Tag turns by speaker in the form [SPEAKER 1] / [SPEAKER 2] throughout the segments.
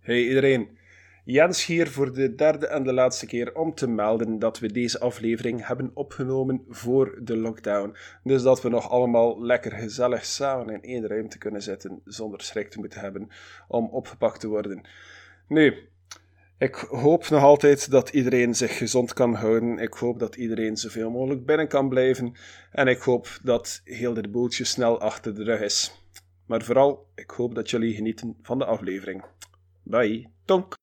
[SPEAKER 1] Hey iedereen, Jens hier voor de derde en de laatste keer om te melden dat we deze aflevering hebben opgenomen voor de lockdown. Dus dat we nog allemaal lekker gezellig samen in één ruimte kunnen zitten zonder schrik te moeten hebben om opgepakt te worden. Nu, ik hoop nog altijd dat iedereen zich gezond kan houden. Ik hoop dat iedereen zoveel mogelijk binnen kan blijven. En ik hoop dat heel dit boeltje snel achter de rug is. Maar vooral, ik hoop dat jullie genieten van de aflevering. Bye. Tonk.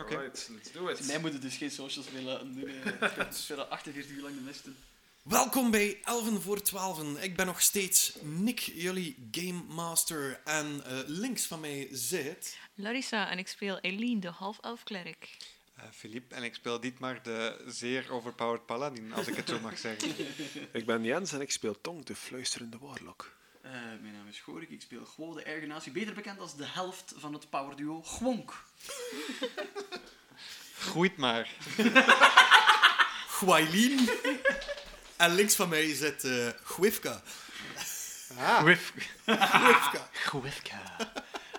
[SPEAKER 2] Oké.
[SPEAKER 3] Alright, let's do it.
[SPEAKER 2] Mij moeten dus geen socials meer laten doen. hè. Ik heb dus verder 48 uur lang de mist doen.
[SPEAKER 4] Welkom bij Elven voor 12. Ik ben nog steeds Nick, jullie Game Master. En eh, links van mij zit.
[SPEAKER 5] Larissa en ik speel Eileen, de half-elf klerk.
[SPEAKER 3] Eh, Philippe en ik speel Dietmar de zeer overpowered paladin, als ik het zo mag zeggen.
[SPEAKER 1] Ik ben Jens en ik speel Tonk, de fluisterende warlock.
[SPEAKER 2] Eh, mijn naam is Gorik, ik speel Gwo, de ergenatie, beter bekend als de helft van het powerduo Gwonk.
[SPEAKER 3] Groeit maar.
[SPEAKER 4] Gwailin. en links van mij zit eh Gwifka. Gwifka.
[SPEAKER 6] Gwifka.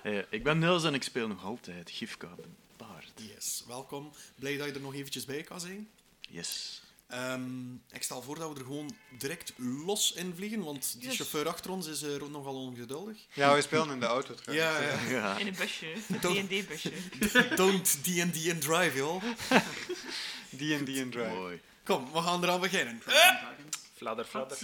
[SPEAKER 6] Eh, ik ben Niels en ik speel nog altijd Gifka, de paard.
[SPEAKER 4] Yes, welkom. Blij dat je er nog eventjes bij kan zijn.
[SPEAKER 6] Yes.
[SPEAKER 4] Ehm, ik stel voor dat we er gewoon direct los in vliegen, want die
[SPEAKER 5] Yes.
[SPEAKER 4] chauffeur achter ons is eh, nogal ongeduldig.
[SPEAKER 3] Ja, we spelen in de auto trouwens.
[SPEAKER 4] Ja, ja.
[SPEAKER 6] Ja.
[SPEAKER 5] In een busje,
[SPEAKER 4] Toch?
[SPEAKER 5] een D&D-busje.
[SPEAKER 4] Don't D&D and drive, joh.
[SPEAKER 3] D&D en Drive.
[SPEAKER 6] Mooi.
[SPEAKER 4] Kom, we gaan eraan beginnen.
[SPEAKER 1] Fladder, fladder.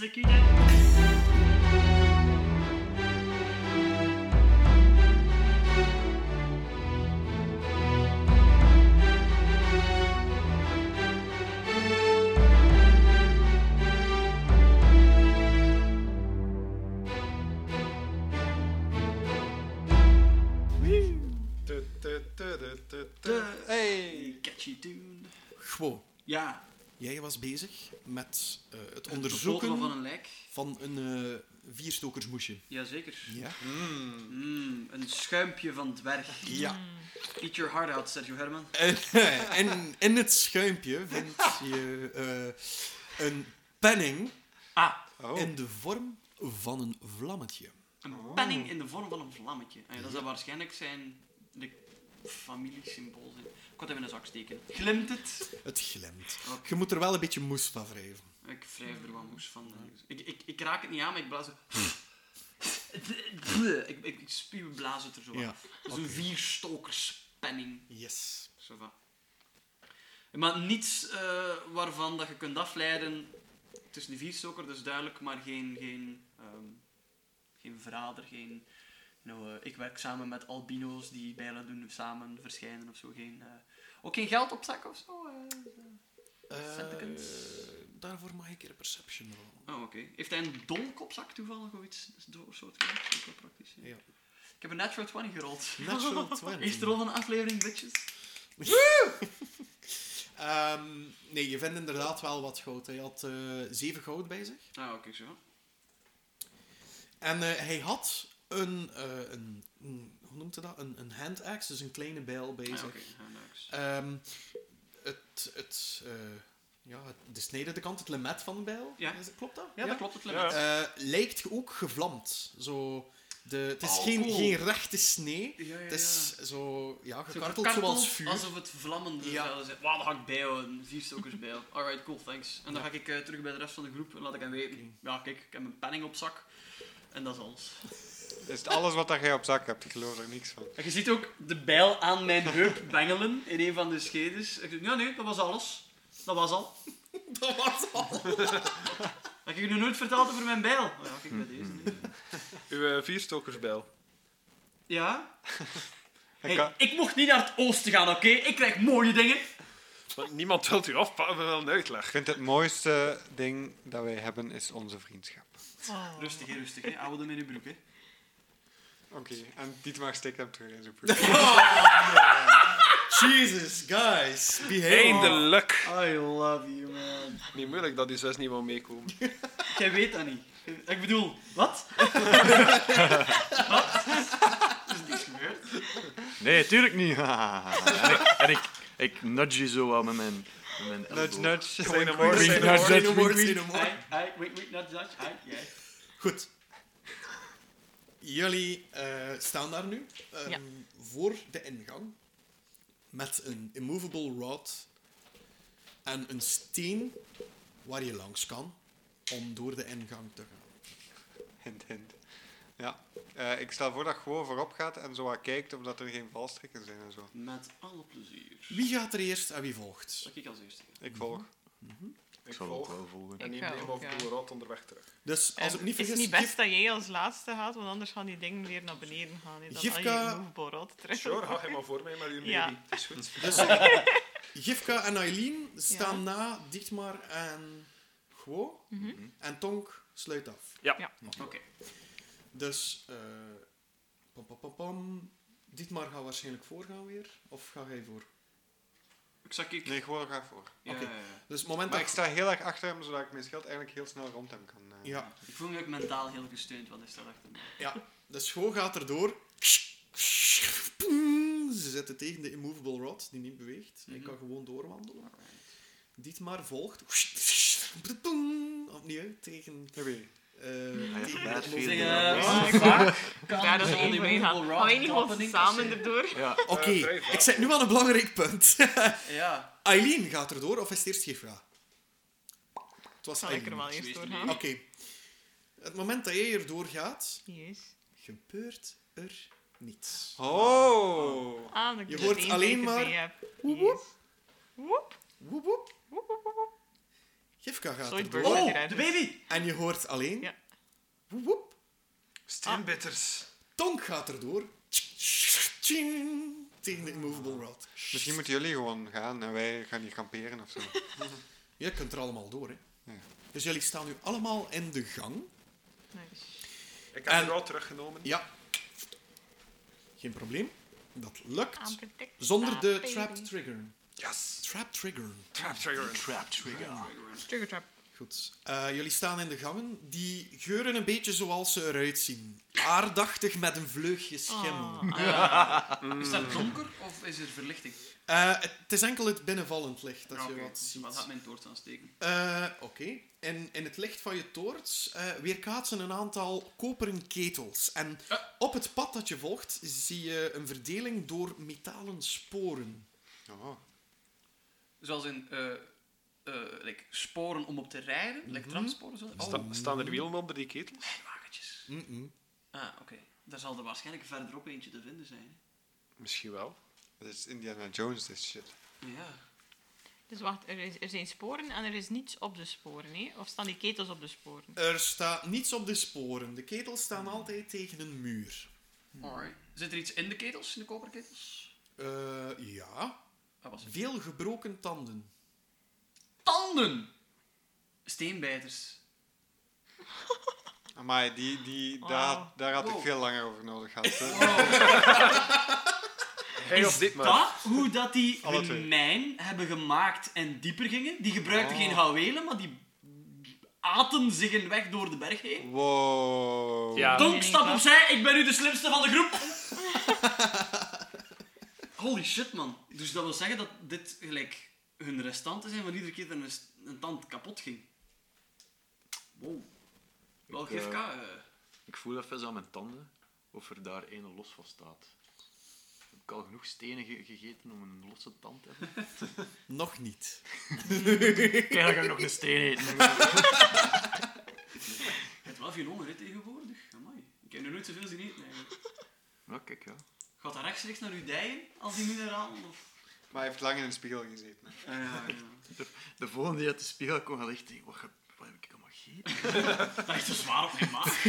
[SPEAKER 3] Tu, tu, tu, tu, tu, tu. Hey!
[SPEAKER 2] Catchy tune.
[SPEAKER 4] Gewoon.
[SPEAKER 2] Ja,
[SPEAKER 4] Jij was bezig met eh, het
[SPEAKER 2] het bepotelen
[SPEAKER 4] onderzoeken
[SPEAKER 2] van een lijk.
[SPEAKER 4] van een eh, vierstokersmoesje.
[SPEAKER 2] Jazeker.
[SPEAKER 4] Ja.
[SPEAKER 2] Mm, een schuimpje van dwerg.
[SPEAKER 4] Ja.
[SPEAKER 2] Eat your heart out, Sergio Herman.
[SPEAKER 4] En, eh, en in het schuimpje vind je eh, een penning
[SPEAKER 2] Ah,
[SPEAKER 3] Oh,
[SPEAKER 4] in de vorm van een vlammetje.
[SPEAKER 2] een penning in de vorm van een vlammetje. Ah ja, dat zou waarschijnlijk zijn de familiesymbool zijn. Ik had hem in een zak steken. Glimt het?
[SPEAKER 4] Het glimt.
[SPEAKER 2] Oké.
[SPEAKER 4] Je moet er wel een beetje moes van wrijven.
[SPEAKER 2] Ik wrijf er wat moes van. Ik, ik, ik raak het niet aan, maar ik blaas het. Ik, ik, ik spuw blaas het er zo
[SPEAKER 4] Ja.
[SPEAKER 2] af. Dat is een vierstokerspenning.
[SPEAKER 4] Yes.
[SPEAKER 2] Zo van. Maar niets eh, waarvan dat je kunt afleiden. Het is een vierstoker, dus duidelijk, maar geen, geen, ehm, geen verrader, geen... Nou, eh, ik werk samen met albino's die bijna doen samen verschijnen of zo. Geen, eh, ook geen geld op zak of zo. eh.
[SPEAKER 4] Eh,
[SPEAKER 2] Centicons.
[SPEAKER 4] daarvoor mag ik een perception rollen.
[SPEAKER 2] Oh, oké. Heeft hij een dolkopzak toevallig of iets soortgelijks? Dat is wel praktisch. Ja.
[SPEAKER 4] Ja.
[SPEAKER 2] Ik heb een natural 20 gerold.
[SPEAKER 4] Natural 20.
[SPEAKER 2] Eerste rol van de aflevering, bitches.
[SPEAKER 4] Ehm, nee, je vindt inderdaad wel wat goud. Hij had eh, zeven goud bij zich.
[SPEAKER 2] Ah, oké, zo.
[SPEAKER 4] En eh, hij had een, eh, een, een- hoe noemt hij dat? Een, een hand axe, dus een kleine bijl bij
[SPEAKER 2] Ah,
[SPEAKER 4] zich.
[SPEAKER 2] oké. Ah, nice.
[SPEAKER 4] Ehm, het, het, eh, ja, het- de snijdende kant, het lemet van de bijl.
[SPEAKER 2] Ja.
[SPEAKER 4] Is- Klopt dat?
[SPEAKER 2] Ja, dat klopt, het limit.
[SPEAKER 4] Eh, lijkt ook gevlamd. Zo, de, het is
[SPEAKER 2] Oh,
[SPEAKER 4] geen,
[SPEAKER 2] cool.
[SPEAKER 4] geen rechte snee.
[SPEAKER 2] Ja, ja, ja.
[SPEAKER 4] Het is zo, ja,
[SPEAKER 2] Zo
[SPEAKER 4] gekarteld zoals vuur.
[SPEAKER 2] Alsof het vlammende
[SPEAKER 4] Ja.
[SPEAKER 2] ja. is. Wauw, dan ga ik bijhouden. Vier stokers bijl. Alright, cool, thanks. En dan ga ik eh, terug bij de rest van de groep en laat ik hen weten. Ja, kijk, ik heb mijn penning op zak. En dat is alles.
[SPEAKER 3] is het alles wat dat jij op zak hebt? Ik geloof er niks van.
[SPEAKER 2] En je ziet ook de bijl aan mijn heup bengelen in een van de schedes. Ik zeg, ja nee, dat was alles. Dat was al.
[SPEAKER 4] Dat was al.
[SPEAKER 2] Heb ik je nooit verteld over mijn bijl? Oh ja, kijk bij deze. nee.
[SPEAKER 1] Uw vierstokersbel.
[SPEAKER 2] Ja?
[SPEAKER 3] Ik
[SPEAKER 2] Hey,
[SPEAKER 3] kan-
[SPEAKER 2] ik mocht niet naar het oosten gaan, oké? Ik krijg mooie dingen.
[SPEAKER 1] Want niemand wil u afpakken van een
[SPEAKER 3] Ik
[SPEAKER 1] uitleg.
[SPEAKER 3] vind het mooiste ding dat wij hebben, is onze vriendschap.
[SPEAKER 2] Rustig, hè, rustig. Hè. Oude in je broek, hè.
[SPEAKER 3] Oké, en Dietmar steekt hem terug in zijn broek.
[SPEAKER 4] Jesus, guys. Behave.
[SPEAKER 1] Eindelijk!
[SPEAKER 2] I love you, man.
[SPEAKER 1] Niet moeilijk dat die zus niet wil meekomen.
[SPEAKER 2] Jij weet dat niet. Ik bedoel, wat? wat? Er is niks gebeurd.
[SPEAKER 6] Nee, tuurlijk niet. en ik, en ik, ik nudge je zo wel met mijn, met mijn
[SPEAKER 3] Nudge,
[SPEAKER 6] elleboog.
[SPEAKER 3] nudge.
[SPEAKER 1] Zijn
[SPEAKER 3] wink,
[SPEAKER 1] er mooi,
[SPEAKER 3] wink.
[SPEAKER 1] zijn er
[SPEAKER 4] Say
[SPEAKER 1] mooi.
[SPEAKER 4] no
[SPEAKER 6] Nudge,
[SPEAKER 4] more,
[SPEAKER 6] nudge,
[SPEAKER 4] say no more.
[SPEAKER 2] Ai, ai, wait, wait, not judge. Ai, jij.
[SPEAKER 4] Goed. Jullie eh, staan daar nu ehm,
[SPEAKER 5] Ja.
[SPEAKER 4] voor de ingang met een immovable rod en een steen waar je langs kan om door de ingang te gaan.
[SPEAKER 3] Hint, hint. Ja. Eh, ik stel voor dat je gewoon voorop gaat en zo wat kijkt of dat er geen valstrikken zijn en zo.
[SPEAKER 2] Met alle plezier.
[SPEAKER 4] Wie gaat er eerst en wie volgt?
[SPEAKER 2] Zal ik als eerste gaan?
[SPEAKER 3] Ik volg.
[SPEAKER 6] Ik zal ook wel volgen.
[SPEAKER 1] En
[SPEAKER 5] Ik
[SPEAKER 1] neem
[SPEAKER 5] ga
[SPEAKER 1] neem
[SPEAKER 5] ook,
[SPEAKER 1] over
[SPEAKER 5] ja.
[SPEAKER 1] de rot onderweg terug.
[SPEAKER 4] Dus als
[SPEAKER 5] En
[SPEAKER 4] ik niet
[SPEAKER 5] is
[SPEAKER 4] vergis,
[SPEAKER 5] het niet best
[SPEAKER 4] Gif-
[SPEAKER 5] dat jij als laatste gaat, want anders gaan die dingen weer naar beneden gaan. Hè. Dan
[SPEAKER 4] Gifka-
[SPEAKER 5] al je movable rod terug.
[SPEAKER 1] Sure, ga jij maar voor mij met uw
[SPEAKER 5] Ja.
[SPEAKER 1] baby. Het is goed.
[SPEAKER 4] dus, Gifka en Aileen staan
[SPEAKER 5] Ja.
[SPEAKER 4] na Dietmar en Guo.
[SPEAKER 5] Mhm.
[SPEAKER 4] En Tonk sluit af.
[SPEAKER 2] Oké.
[SPEAKER 4] Dus, eh pam, pam, pam, pam. Dietmar gaat waarschijnlijk voorgaan weer. Of ga jij voor?
[SPEAKER 2] Ik zag ik...
[SPEAKER 3] Nee, gewoon ga voor.
[SPEAKER 2] Ja,
[SPEAKER 4] oké.
[SPEAKER 2] ja, ja.
[SPEAKER 4] Dus het moment
[SPEAKER 3] Maar ik
[SPEAKER 4] dat...
[SPEAKER 3] sta heel erg achter hem, zodat ik mijn schild eigenlijk heel snel rond hem kan. eh.
[SPEAKER 4] Ja,
[SPEAKER 2] Ik voel me ook mentaal heel gesteund, want hij staat achter me.
[SPEAKER 4] ja. Dus Guo gaat erdoor. Poeng. Ze zetten tegen de immovable rod, die niet beweegt. Hij kan gewoon doorwandelen. Dietmar volgt. Poeng. Opnieuw tegen...
[SPEAKER 3] Oké.
[SPEAKER 4] eh,
[SPEAKER 6] Ah ja,
[SPEAKER 4] tegen-
[SPEAKER 6] bad feeling.
[SPEAKER 2] Ja,
[SPEAKER 5] Ja, dat is niet mee gaan. Gaan wij niet gewoon samen erdoor?
[SPEAKER 6] Ja,
[SPEAKER 4] Oké,
[SPEAKER 1] Eh, vrij vaak.
[SPEAKER 4] ik zet nu aan een belangrijk punt.
[SPEAKER 2] Ja.
[SPEAKER 4] Aileen gaat erdoor of is het eerst Gifka? Het was
[SPEAKER 5] Zal ik er
[SPEAKER 4] Aileen.
[SPEAKER 5] wel
[SPEAKER 2] Ik
[SPEAKER 5] eerst
[SPEAKER 2] weet
[SPEAKER 5] door
[SPEAKER 2] het
[SPEAKER 5] gaan?
[SPEAKER 4] Oké. Het moment dat jij erdoor gaat,
[SPEAKER 5] Yes.
[SPEAKER 4] gebeurt er niets.
[SPEAKER 3] Oh!
[SPEAKER 5] Ah, dat
[SPEAKER 4] Je hoort alleen maar- Woep, woep.
[SPEAKER 5] Woep.
[SPEAKER 4] Woep, woep.
[SPEAKER 5] Woep, woep, woep, woep.
[SPEAKER 4] Gifka gaat
[SPEAKER 5] Sorry,
[SPEAKER 4] erdoor.
[SPEAKER 5] Bert.
[SPEAKER 4] Oh,
[SPEAKER 2] Oh, de baby!
[SPEAKER 4] en je hoort alleen.
[SPEAKER 5] Ja.
[SPEAKER 4] Woep, woep. Ah.
[SPEAKER 1] Steenbitters.
[SPEAKER 4] Tonk gaat erdoor. Tjing. Tegen de immovable rod.
[SPEAKER 3] Misschien moeten jullie gewoon gaan en wij gaan hier kamperen of zo.
[SPEAKER 4] Je kunt er allemaal door, hè.
[SPEAKER 3] Ja.
[SPEAKER 4] Dus jullie staan nu allemaal in de gang.
[SPEAKER 5] Nice.
[SPEAKER 1] Ik heb
[SPEAKER 4] En-
[SPEAKER 1] de rot teruggenomen.
[SPEAKER 4] Ja. Geen probleem. Dat lukt.
[SPEAKER 5] Aanpredict-
[SPEAKER 4] Zonder de
[SPEAKER 5] aanpredict-
[SPEAKER 4] trap trigger.
[SPEAKER 1] Yes.
[SPEAKER 4] Trap trigger.
[SPEAKER 1] Trap trigger.
[SPEAKER 6] trap trigger.
[SPEAKER 5] Trigger trap.
[SPEAKER 4] Goed. Eh, jullie staan in de gangen. Die geuren een beetje zoals ze eruit zien. Aardachtig met een vleugje schimmel.
[SPEAKER 5] Ah,
[SPEAKER 2] Is dat donker of is er verlichting?
[SPEAKER 4] Eh, het is enkel het binnenvallend licht dat
[SPEAKER 2] Ah,
[SPEAKER 4] je
[SPEAKER 2] oké.
[SPEAKER 4] wat ziet.
[SPEAKER 2] Wat gaat mijn toorts aansteken?
[SPEAKER 4] Eh, Oké. En in het licht van je toorts eh, weerkaatsen een aantal koperen ketels. En op het pad dat je volgt zie je een verdeling door metalen sporen.
[SPEAKER 3] Oh.
[SPEAKER 2] Zoals in eh, eh, like, sporen om op te rijden, like tramsporen. Zo. Oh,
[SPEAKER 1] Sta- staan er wielen onder die ketels?
[SPEAKER 2] wagentjes.
[SPEAKER 4] Mm-mm.
[SPEAKER 2] Ah, oké. Daar zal er waarschijnlijk verderop eentje te vinden zijn.
[SPEAKER 1] Misschien wel.
[SPEAKER 3] Dat is Indiana Jones, dit shit.
[SPEAKER 2] Ja.
[SPEAKER 5] Dus wacht, er, is, er zijn sporen en er is niets op de sporen, hè? Of staan die ketels op de sporen?
[SPEAKER 4] Er staat niets op de sporen. De ketels
[SPEAKER 2] Mm.
[SPEAKER 4] staan altijd tegen een muur.
[SPEAKER 2] Alright. Zit er iets in de ketels, in de koperketels?
[SPEAKER 4] Eh, ja.
[SPEAKER 2] Ah, was het?
[SPEAKER 4] Veel gebroken tanden.
[SPEAKER 2] Tanden! Steenbijters.
[SPEAKER 3] Amai, die, die,
[SPEAKER 5] Wauw.
[SPEAKER 3] daar, had- daar had ik
[SPEAKER 2] Wow.
[SPEAKER 3] veel langer over nodig gehad. hè.
[SPEAKER 1] Hij of dit maar.
[SPEAKER 2] Dat, hoe dat die
[SPEAKER 3] Alle
[SPEAKER 2] hun
[SPEAKER 3] twee.
[SPEAKER 2] mijn hebben gemaakt en dieper gingen. Die gebruikten geen houwelen, maar die aten zich een weg door de berg heen.
[SPEAKER 3] Wow.
[SPEAKER 1] Ja.
[SPEAKER 5] Dom-
[SPEAKER 2] Tonk,
[SPEAKER 5] Nee,
[SPEAKER 2] stap
[SPEAKER 5] maar-
[SPEAKER 2] opzij, ik ben nu de slimste van de groep. Holy shit, man. Dus dat wil zeggen dat dit gelijk hun restanten zijn van iedere keer dat een, s- een tand kapot ging. Wow. Wel
[SPEAKER 6] Ik, eh,
[SPEAKER 2] GFK. eh.
[SPEAKER 6] Ik voel even aan mijn tanden of er daar een los van staat. Heb ik al genoeg stenen ge- gegeten om een losse tand te hebben?
[SPEAKER 4] Nog niet.
[SPEAKER 6] Kijk, dan ga ik nog een steen eten.
[SPEAKER 2] Je hebt wel veel honger hè, tegenwoordig. Amai. Ik heb nu nooit zoveel zien eten eigenlijk.
[SPEAKER 6] Ja, kijk, ja.
[SPEAKER 2] Gaat dat rechtstreeks naar uw dijen als die mineralen? Of...
[SPEAKER 3] Maar hij heeft lang in de spiegel gezeten. hè.
[SPEAKER 2] Ah, ja, ja.
[SPEAKER 6] De volgende die uit de spiegel kwam, had echt denken, wat, ge- wat heb ik allemaal gegeten?
[SPEAKER 2] Dat is te zwaar op mijn maag.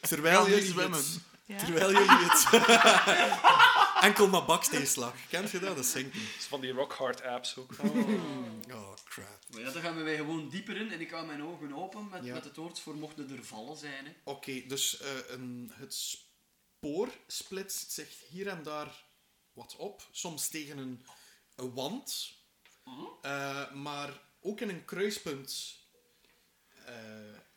[SPEAKER 4] Terwijl
[SPEAKER 6] niet
[SPEAKER 4] jullie
[SPEAKER 6] zwemmen.
[SPEAKER 4] het...
[SPEAKER 5] Ja?
[SPEAKER 4] Terwijl jullie het... Enkel maar baksteenslag. Kent je dat? Dat zinkt niet.
[SPEAKER 1] Dat is van die rock hard apps ook.
[SPEAKER 4] Oh, crap.
[SPEAKER 2] Maar ja, dan gaan we wij gewoon dieper in en ik hou mijn ogen open met,
[SPEAKER 4] Ja.
[SPEAKER 2] met de toorts voor mochten er vallen zijn. Hè.
[SPEAKER 4] Oké, dus eh, een, het spoor splitst zich hier en daar wat op. Soms tegen een, een wand. Eh, maar ook in een kruispunt. eh,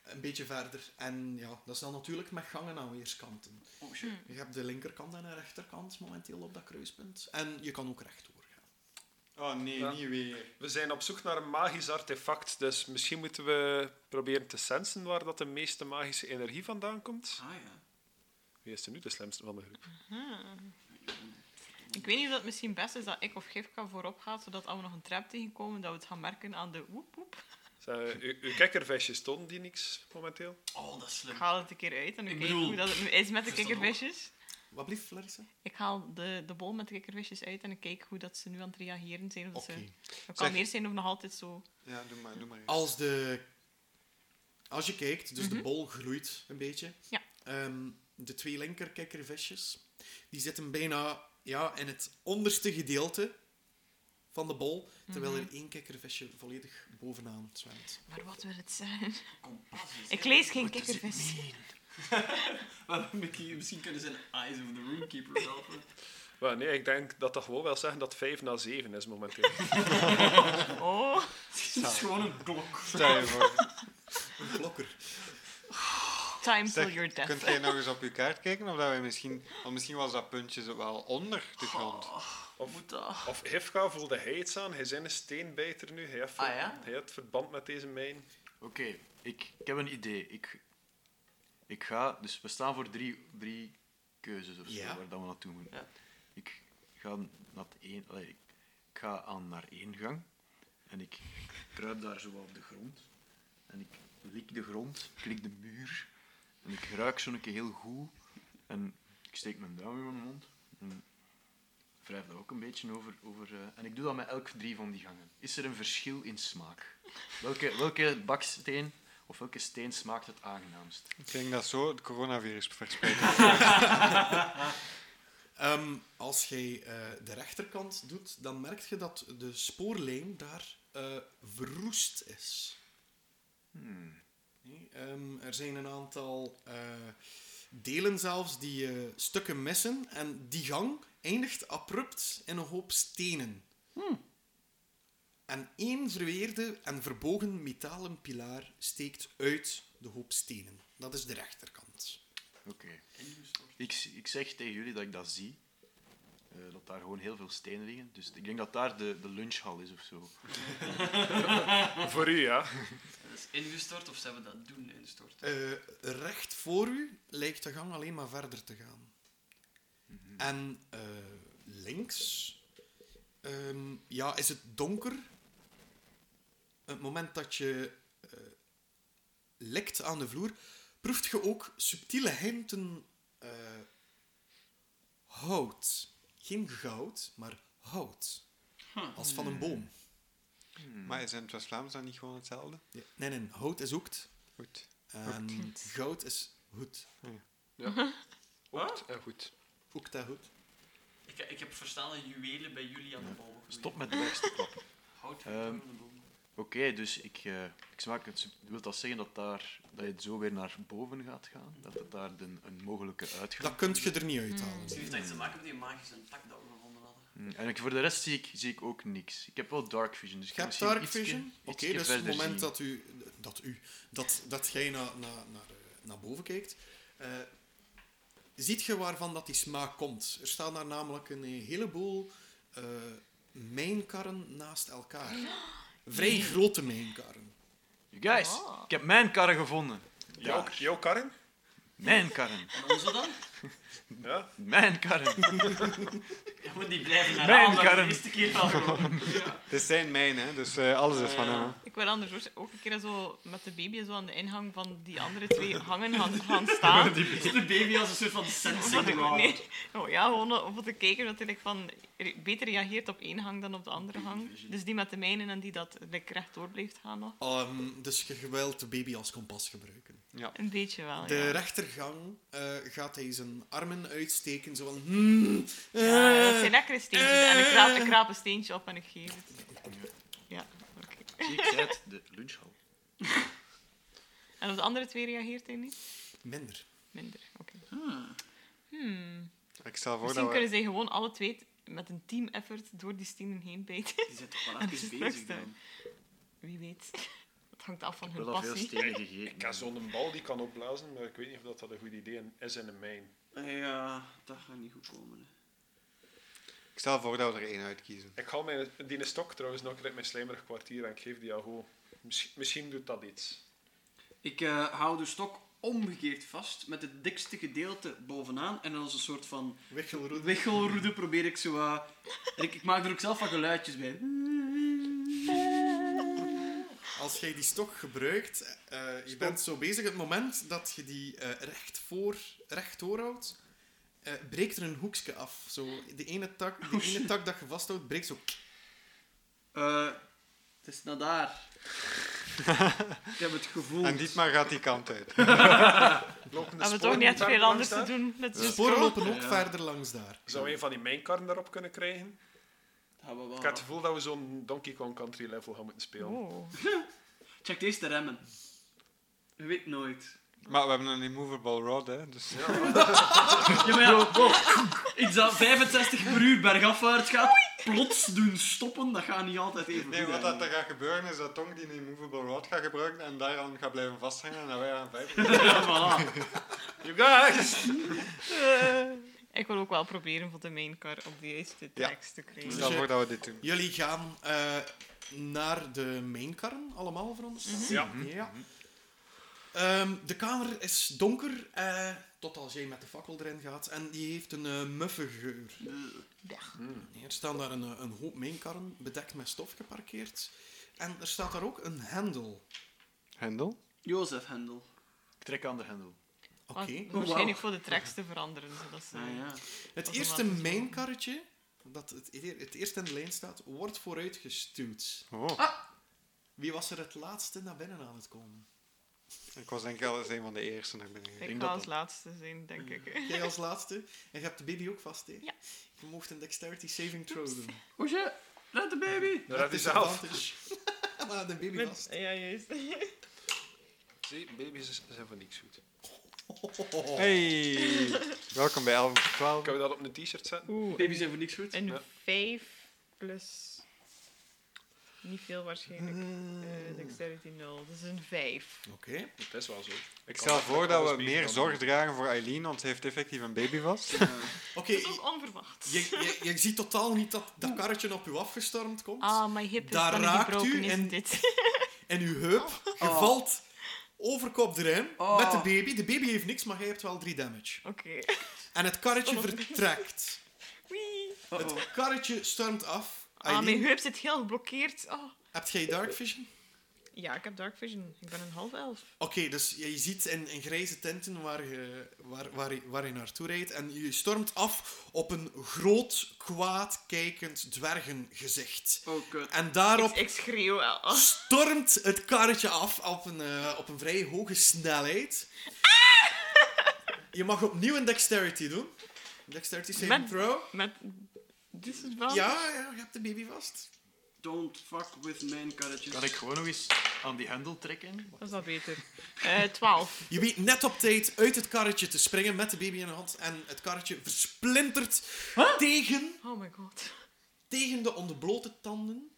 [SPEAKER 4] een beetje verder. En ja, dat is dan natuurlijk met gangen aan weerskanten.
[SPEAKER 2] Oh shit.
[SPEAKER 4] Je hebt de linkerkant en de rechterkant momenteel op dat kruispunt. En je kan ook rechtdoor gaan.
[SPEAKER 3] Oh nee,
[SPEAKER 1] Ja.
[SPEAKER 3] niet weer.
[SPEAKER 1] We zijn op zoek naar een magisch artefact, dus misschien moeten we proberen te sensen waar dat de meeste magische energie vandaan komt.
[SPEAKER 2] Ah ja.
[SPEAKER 1] Wie is er nu de slimste van de groep?
[SPEAKER 5] Ik weet niet of dat het misschien best is dat ik of Gifka voorop gaat, zodat als we nog een trap tegenkomen, dat we het gaan merken aan de woep woep.
[SPEAKER 1] Zijn, eh, uw, uw kikkervisjes tonen die niks momenteel?
[SPEAKER 2] Oh, dat is
[SPEAKER 5] Ik
[SPEAKER 2] slim.
[SPEAKER 5] haal het een keer uit en
[SPEAKER 2] Ik
[SPEAKER 5] ik kijk
[SPEAKER 2] bedoel,
[SPEAKER 5] hoe dat het is met de
[SPEAKER 2] is dat
[SPEAKER 5] kikkervisjes.
[SPEAKER 4] Wat blieft, Larissa?
[SPEAKER 5] Ik haal de, de bol met de kikkervisjes uit en ik kijk hoe dat ze nu aan het reageren zijn. Of dat
[SPEAKER 4] Oké.
[SPEAKER 5] ze dat
[SPEAKER 3] Zeg-
[SPEAKER 5] kan meer zijn of nog altijd zo.
[SPEAKER 3] Ja, doe maar, doe maar.
[SPEAKER 4] Als de... Als je kijkt, dus de bol groeit een beetje.
[SPEAKER 5] Ja.
[SPEAKER 4] Ehm, de twee linkerkikkervisjes, die zitten bijna ja, in het onderste gedeelte van de bol, terwijl er één kikkervisje volledig bovenaan zwemt.
[SPEAKER 5] Maar wat wil het zijn?
[SPEAKER 2] Kompas is
[SPEAKER 5] Ik
[SPEAKER 2] heel
[SPEAKER 5] lees geen
[SPEAKER 2] goed, dus ik-
[SPEAKER 5] kikkervis.
[SPEAKER 2] Wel, Mickey, Misschien kunnen ze de eyes of the roomkeeper helpen.
[SPEAKER 1] Wel, nee, ik denk dat dat gewoon wil zeggen dat 5 na 7 is momenteel.
[SPEAKER 5] Oh,
[SPEAKER 2] Het is gewoon een blok.
[SPEAKER 3] Stel je voor.
[SPEAKER 4] Een klokker.
[SPEAKER 5] time till
[SPEAKER 3] Zeg,
[SPEAKER 5] your
[SPEAKER 3] kunt
[SPEAKER 5] death.
[SPEAKER 3] jij nog eens op je kaart kijken? Of dat wij misschien... Want misschien was dat puntje zo wel onder de grond.
[SPEAKER 2] Wat moet dat?
[SPEAKER 1] Of Hifka voelde hij iets aan, hij zijn een steenbijter nu. Hij heeft,
[SPEAKER 2] Ah, ja?
[SPEAKER 1] hij heeft verband met deze mijn.
[SPEAKER 6] Oké, ik, ik heb een idee. Ik, ik ga, dus we staan voor drie, drie keuzes of zo,
[SPEAKER 4] Ja.
[SPEAKER 6] waar dat we naartoe moeten.
[SPEAKER 2] Ja.
[SPEAKER 6] Ik ga naar het één, allee, ik, ik ga aan naar één gang en ik, ik kruip daar zo op de grond en ik lik de grond, ik lik de muur en ik ruik zo'n keer heel goed en ik steek mijn duim in mijn mond en wrijf daar ook een beetje over. over eh, en ik doe dat met elk drie van die gangen. Is er een verschil in smaak? Welke, welke baksteen of welke steen smaakt het aangenaamst?
[SPEAKER 3] Ik denk dat zo het coronavirus verspreidt.
[SPEAKER 4] Ehm, als jij eh, de rechterkant doet, dan merk je dat de spoorlijn daar eh, verroest is. Nee, ehm, er zijn een aantal eh, delen zelfs die eh, stukken missen. En die gang eindigt abrupt in een hoop stenen. En één verweerde en verbogen metalen pilaar steekt uit de hoop stenen. Dat is de rechterkant.
[SPEAKER 6] Oké. Ik, z- ik zeg tegen jullie dat ik dat zie. Eh, dat daar gewoon heel veel stenen liggen. Dus ik denk dat daar de, de lunchhal is of zo.
[SPEAKER 1] Voor u, ja.
[SPEAKER 2] Dat is ingestort of zouden we dat doen instorten?
[SPEAKER 4] Eh, recht voor u lijkt de gang alleen maar verder te gaan. En eh, links ehm, ja, is het donker. Het moment dat je eh, likt aan de vloer, proeft je ook subtiele hinten eh, hout. Geen goud, maar hout. Als van een boom.
[SPEAKER 3] Maar is in het West-Vlaams dan niet gewoon hetzelfde?
[SPEAKER 4] Nee, nee, hout is hoekt.
[SPEAKER 3] Goed.
[SPEAKER 4] En goud is hoed.
[SPEAKER 1] Goed en goed.
[SPEAKER 4] Hoekt dat goed?
[SPEAKER 2] Ik, ik heb verstaan dat juwelen bij jullie aan de bomen groeien.
[SPEAKER 6] Stop met de beste klappen.
[SPEAKER 2] Hout
[SPEAKER 6] Ehm.
[SPEAKER 2] aan de bomen.
[SPEAKER 6] Oké, dus ik, eh, ik smaak het. sub- Wil dat zeggen dat, daar, dat je het zo weer naar boven gaat gaan? Dat het daar een, een mogelijke
[SPEAKER 4] Dat
[SPEAKER 6] uitgang
[SPEAKER 4] kunt je er niet uithalen.
[SPEAKER 2] Misschien heeft dat iets te maken met die magische tak dat we gevonden hadden.
[SPEAKER 6] Mm, En ik, voor de rest zie ik, zie ik ook niks. Ik heb wel dark vision. Dus ik
[SPEAKER 4] Je
[SPEAKER 6] kan
[SPEAKER 4] hebt dark
[SPEAKER 6] misschien ietsje-
[SPEAKER 4] vision. Oké,
[SPEAKER 6] ietsje
[SPEAKER 4] dus het
[SPEAKER 6] verder
[SPEAKER 4] moment
[SPEAKER 6] zien.
[SPEAKER 4] dat u, dat u, dat, dat jij naar, naar, naar, eh, naar boven kijkt, eh, ziet je waarvan dat die smaak komt. Er staan daar namelijk een heleboel eh, mijnkarren naast elkaar. Vrij grote mijnkarren.
[SPEAKER 6] You guys,
[SPEAKER 5] Oh.
[SPEAKER 4] Ah.
[SPEAKER 6] ik heb mijn karren gevonden.
[SPEAKER 1] Jouw,
[SPEAKER 6] Daar.
[SPEAKER 1] jouw karren?
[SPEAKER 6] Mijn karren.
[SPEAKER 2] En onze dan?
[SPEAKER 1] Ja.
[SPEAKER 6] Mijn karren.
[SPEAKER 2] Ja, maar die blijven naar
[SPEAKER 6] Mijn
[SPEAKER 2] aan, dat is de
[SPEAKER 6] karren.
[SPEAKER 2] eerste keer al gewoon.
[SPEAKER 3] Het zijn mijn, hè? Dus eh, alles is van
[SPEAKER 2] Ja.
[SPEAKER 3] hem. hè.
[SPEAKER 5] Ik wil anders ook- ook een keer zo met de baby zo aan de ingang van die andere twee hangen gaan, gaan staan.
[SPEAKER 2] Is de baby als een soort van sensing rod?
[SPEAKER 5] Nee. Oh, ja, gewoon om om te kijken dat hij like, van, re- beter reageert op één hang dan op de andere hang. Dus die met de mijnen en die dat like, rechtdoor blijft gaan nog.
[SPEAKER 4] Ehm, dus je wilt de baby als kompas gebruiken.
[SPEAKER 5] Een beetje
[SPEAKER 6] Ah,
[SPEAKER 5] wel,
[SPEAKER 4] De
[SPEAKER 5] ja.
[SPEAKER 4] rechtergang eh, gaat hij zijn armen uitsteken, zo van... "Hmm, eh,
[SPEAKER 5] Ja, Eh, dat zijn lekkere steentjes. En ik raap, ik raap een steentje op en ik geef het. Ja, oké.
[SPEAKER 6] zie ik uit de lunchhal.
[SPEAKER 5] En op de andere twee reageert hij niet?
[SPEAKER 4] Minder.
[SPEAKER 5] Minder, oké.
[SPEAKER 3] Ik stel voor
[SPEAKER 5] Misschien
[SPEAKER 3] dat we...
[SPEAKER 5] kunnen zij gewoon alle twee t- met een team effort door die stenen heen bijten.
[SPEAKER 2] Die zijn toch wel
[SPEAKER 5] Dat
[SPEAKER 2] even
[SPEAKER 5] is
[SPEAKER 2] bezig
[SPEAKER 5] straks
[SPEAKER 2] dan.
[SPEAKER 5] Wie weet. Dat hangt af van
[SPEAKER 6] Ik heb
[SPEAKER 5] hun
[SPEAKER 6] wel al veel
[SPEAKER 5] passie.
[SPEAKER 6] stenen
[SPEAKER 1] Ik heb
[SPEAKER 6] gegeten.
[SPEAKER 1] zo'n bal die kan opblazen, maar ik weet niet of dat, dat een goed idee is in een mijn.
[SPEAKER 2] Ja, eh, dat gaat niet goed komen. hè.
[SPEAKER 3] Ik stel voor dat we er één uitkiezen.
[SPEAKER 1] Ik haal mijn die stok trouwens nog uit mijn slijmerig kwartier en ik geef die aan Ho. Misschien, misschien doet dat iets.
[SPEAKER 2] Ik eh, hou de stok omgekeerd vast met het dikste gedeelte bovenaan. En als een soort van
[SPEAKER 4] Wichelroet.
[SPEAKER 2] wichelroede probeer ik zo wat... en Ik, ik maak er ook zelf wat geluidjes bij.
[SPEAKER 4] Als jij die stok gebruikt, eh, je bent zo bezig. Het moment dat je die eh, recht voor, recht doorhoudt, eh, breekt er een hoekje af. Zo, de ene tak, de ene tak dat je vasthoudt, breekt zo.
[SPEAKER 2] Eh, het is naar daar. ik heb het gevoel.
[SPEAKER 3] En Dietmar gaat die kant uit.
[SPEAKER 5] We hebben toch niet echt
[SPEAKER 1] daar
[SPEAKER 5] veel
[SPEAKER 1] langs
[SPEAKER 5] anders te
[SPEAKER 1] daar?
[SPEAKER 5] doen met
[SPEAKER 4] De
[SPEAKER 5] zo'n
[SPEAKER 4] sporen
[SPEAKER 5] scroll.
[SPEAKER 4] lopen ook
[SPEAKER 2] Ja.
[SPEAKER 4] verder langs daar.
[SPEAKER 1] Zou we een van die mijnkarren daarop kunnen krijgen?
[SPEAKER 2] Gaan we wel-
[SPEAKER 3] Ah.
[SPEAKER 1] Ik heb het gevoel dat we zo'n Donkey Kong Country level gaan moeten spelen.
[SPEAKER 5] Oh.
[SPEAKER 2] Check deze de remmen. Je weet nooit.
[SPEAKER 3] Maar we hebben een immovable rod, hè. Dus
[SPEAKER 2] Ja, maar ja, wow. iets dat 65 per uur bergafwaarts gaat, plots doen stoppen, dat gaat niet altijd even
[SPEAKER 3] Nee,
[SPEAKER 2] goed
[SPEAKER 3] wat dat er
[SPEAKER 2] eindigen.
[SPEAKER 3] gaat gebeuren is dat Tong die een immovable rod gaat gebruiken en daaraan gaat blijven vasthangen en dan wij aan vijf.
[SPEAKER 2] Ja, voilà.
[SPEAKER 1] You guys!
[SPEAKER 5] Ik wil ook wel proberen voor de maincar op de juiste tracks te krijgen.
[SPEAKER 3] Stel voor dat we dit doen.
[SPEAKER 4] Jullie gaan eh, naar de mainkarren, allemaal veronderstel ik?
[SPEAKER 1] Ja.
[SPEAKER 4] Ja. Ehm, de kamer is donker, eh, tot als jij met de fakkel erin gaat. En die heeft een eh, muffe geur. Er staan daar een, eh, een hoop mainkarren, bedekt met stof geparkeerd. En er staat daar ook een hendel.
[SPEAKER 3] Hendel?
[SPEAKER 2] Jozef Hendel.
[SPEAKER 6] Ik trek aan de hendel.
[SPEAKER 4] Oké.
[SPEAKER 5] Want
[SPEAKER 2] wauw.
[SPEAKER 5] Waarschijnlijk voor de tracks te veranderen, zodat ze...
[SPEAKER 2] Ah, ja.
[SPEAKER 4] Het
[SPEAKER 5] Automatisch
[SPEAKER 4] eerste
[SPEAKER 5] wel.
[SPEAKER 4] mijnkarretje, dat het, eer- het eerst in de lijn staat, wordt vooruit gestuwd.
[SPEAKER 3] Oh,
[SPEAKER 4] Wie was er het laatste naar binnen aan het komen?
[SPEAKER 3] ik was denk ik al eens een van de eerste naar binnen gegaan.
[SPEAKER 5] Ik ga als laatste zijn, denk ik.
[SPEAKER 4] Jij als laatste. En je hebt de baby ook vast, hè?
[SPEAKER 5] Ja.
[SPEAKER 4] Je mocht een dexterity saving throw doen.
[SPEAKER 2] Hoesje, red de baby.
[SPEAKER 1] Dat is
[SPEAKER 4] is
[SPEAKER 1] zelf.
[SPEAKER 4] maar de baby vast.
[SPEAKER 5] Ja, juist.
[SPEAKER 1] Zie, baby's zijn van niks goed.
[SPEAKER 3] Hey! Welkom bij 11 voor 12.
[SPEAKER 1] Kunnen we dat op een t-shirt zetten?
[SPEAKER 5] Oeh,
[SPEAKER 2] Baby's zijn voor niks goed.
[SPEAKER 5] een
[SPEAKER 1] Ja.
[SPEAKER 5] 5 plus... Niet veel waarschijnlijk. Eh, dexterity 0. Dus een 5.
[SPEAKER 4] Oké.
[SPEAKER 1] Dat is wel zo.
[SPEAKER 3] Ik stel voor dat we meer zorg dragen voor Eileen, want ze heeft effectief een baby vast.
[SPEAKER 4] Oké,
[SPEAKER 5] Dat is ook onverwacht.
[SPEAKER 4] je, je, je ziet totaal niet dat dat karretje op u afgestormd komt.
[SPEAKER 5] Ah, mijn hip is
[SPEAKER 4] Daar
[SPEAKER 5] dan
[SPEAKER 4] raakt
[SPEAKER 5] gebroken,
[SPEAKER 4] u
[SPEAKER 5] is
[SPEAKER 4] en-
[SPEAKER 5] dit.
[SPEAKER 4] En uw heup,
[SPEAKER 5] Ah.
[SPEAKER 4] je
[SPEAKER 2] Oh.
[SPEAKER 4] valt overkop erin
[SPEAKER 2] Oh.
[SPEAKER 4] met de baby. De baby heeft niks, maar jij hebt wel 3 damage.
[SPEAKER 5] Oké.
[SPEAKER 4] En het karretje
[SPEAKER 2] Oh.
[SPEAKER 5] Spannend.
[SPEAKER 4] vertrekt.
[SPEAKER 5] Wee.
[SPEAKER 2] Uh-oh.
[SPEAKER 4] Het karretje stormt af.
[SPEAKER 5] Ah, mijn
[SPEAKER 4] Eileen,
[SPEAKER 5] heup zit heel geblokkeerd. Oh.
[SPEAKER 4] heb jij dark vision?
[SPEAKER 5] Ja, ik heb dark vision. Ik ben een half elf.
[SPEAKER 4] Oké, dus je ziet in, in grijze tenten waar je, waar, waar, je- waar je naartoe rijdt. En je stormt af op een groot, kwaad kijkend dwergengezicht.
[SPEAKER 2] Oh, kut.
[SPEAKER 4] En daarop
[SPEAKER 5] Ik, ik schreeuw wel. Oh.
[SPEAKER 4] stormt het karretje af op een, eh, op een vrij hoge snelheid. Je mag opnieuw een dexterity doen. Dexterity saving
[SPEAKER 5] Met-
[SPEAKER 4] throw.
[SPEAKER 5] Met dus disadvantage.
[SPEAKER 4] Ja, ja, je hebt de baby vast.
[SPEAKER 2] Don't fuck with mijn karretjes.
[SPEAKER 6] Kan ik gewoon nog eens aan die hendel trekken?
[SPEAKER 5] Dat is al beter. Eh 12.
[SPEAKER 4] Je weet net op tijd uit het karretje te springen met de baby in de hand. En het karretje versplintert tegen
[SPEAKER 5] Oh my god.
[SPEAKER 4] tegen de ontblote tanden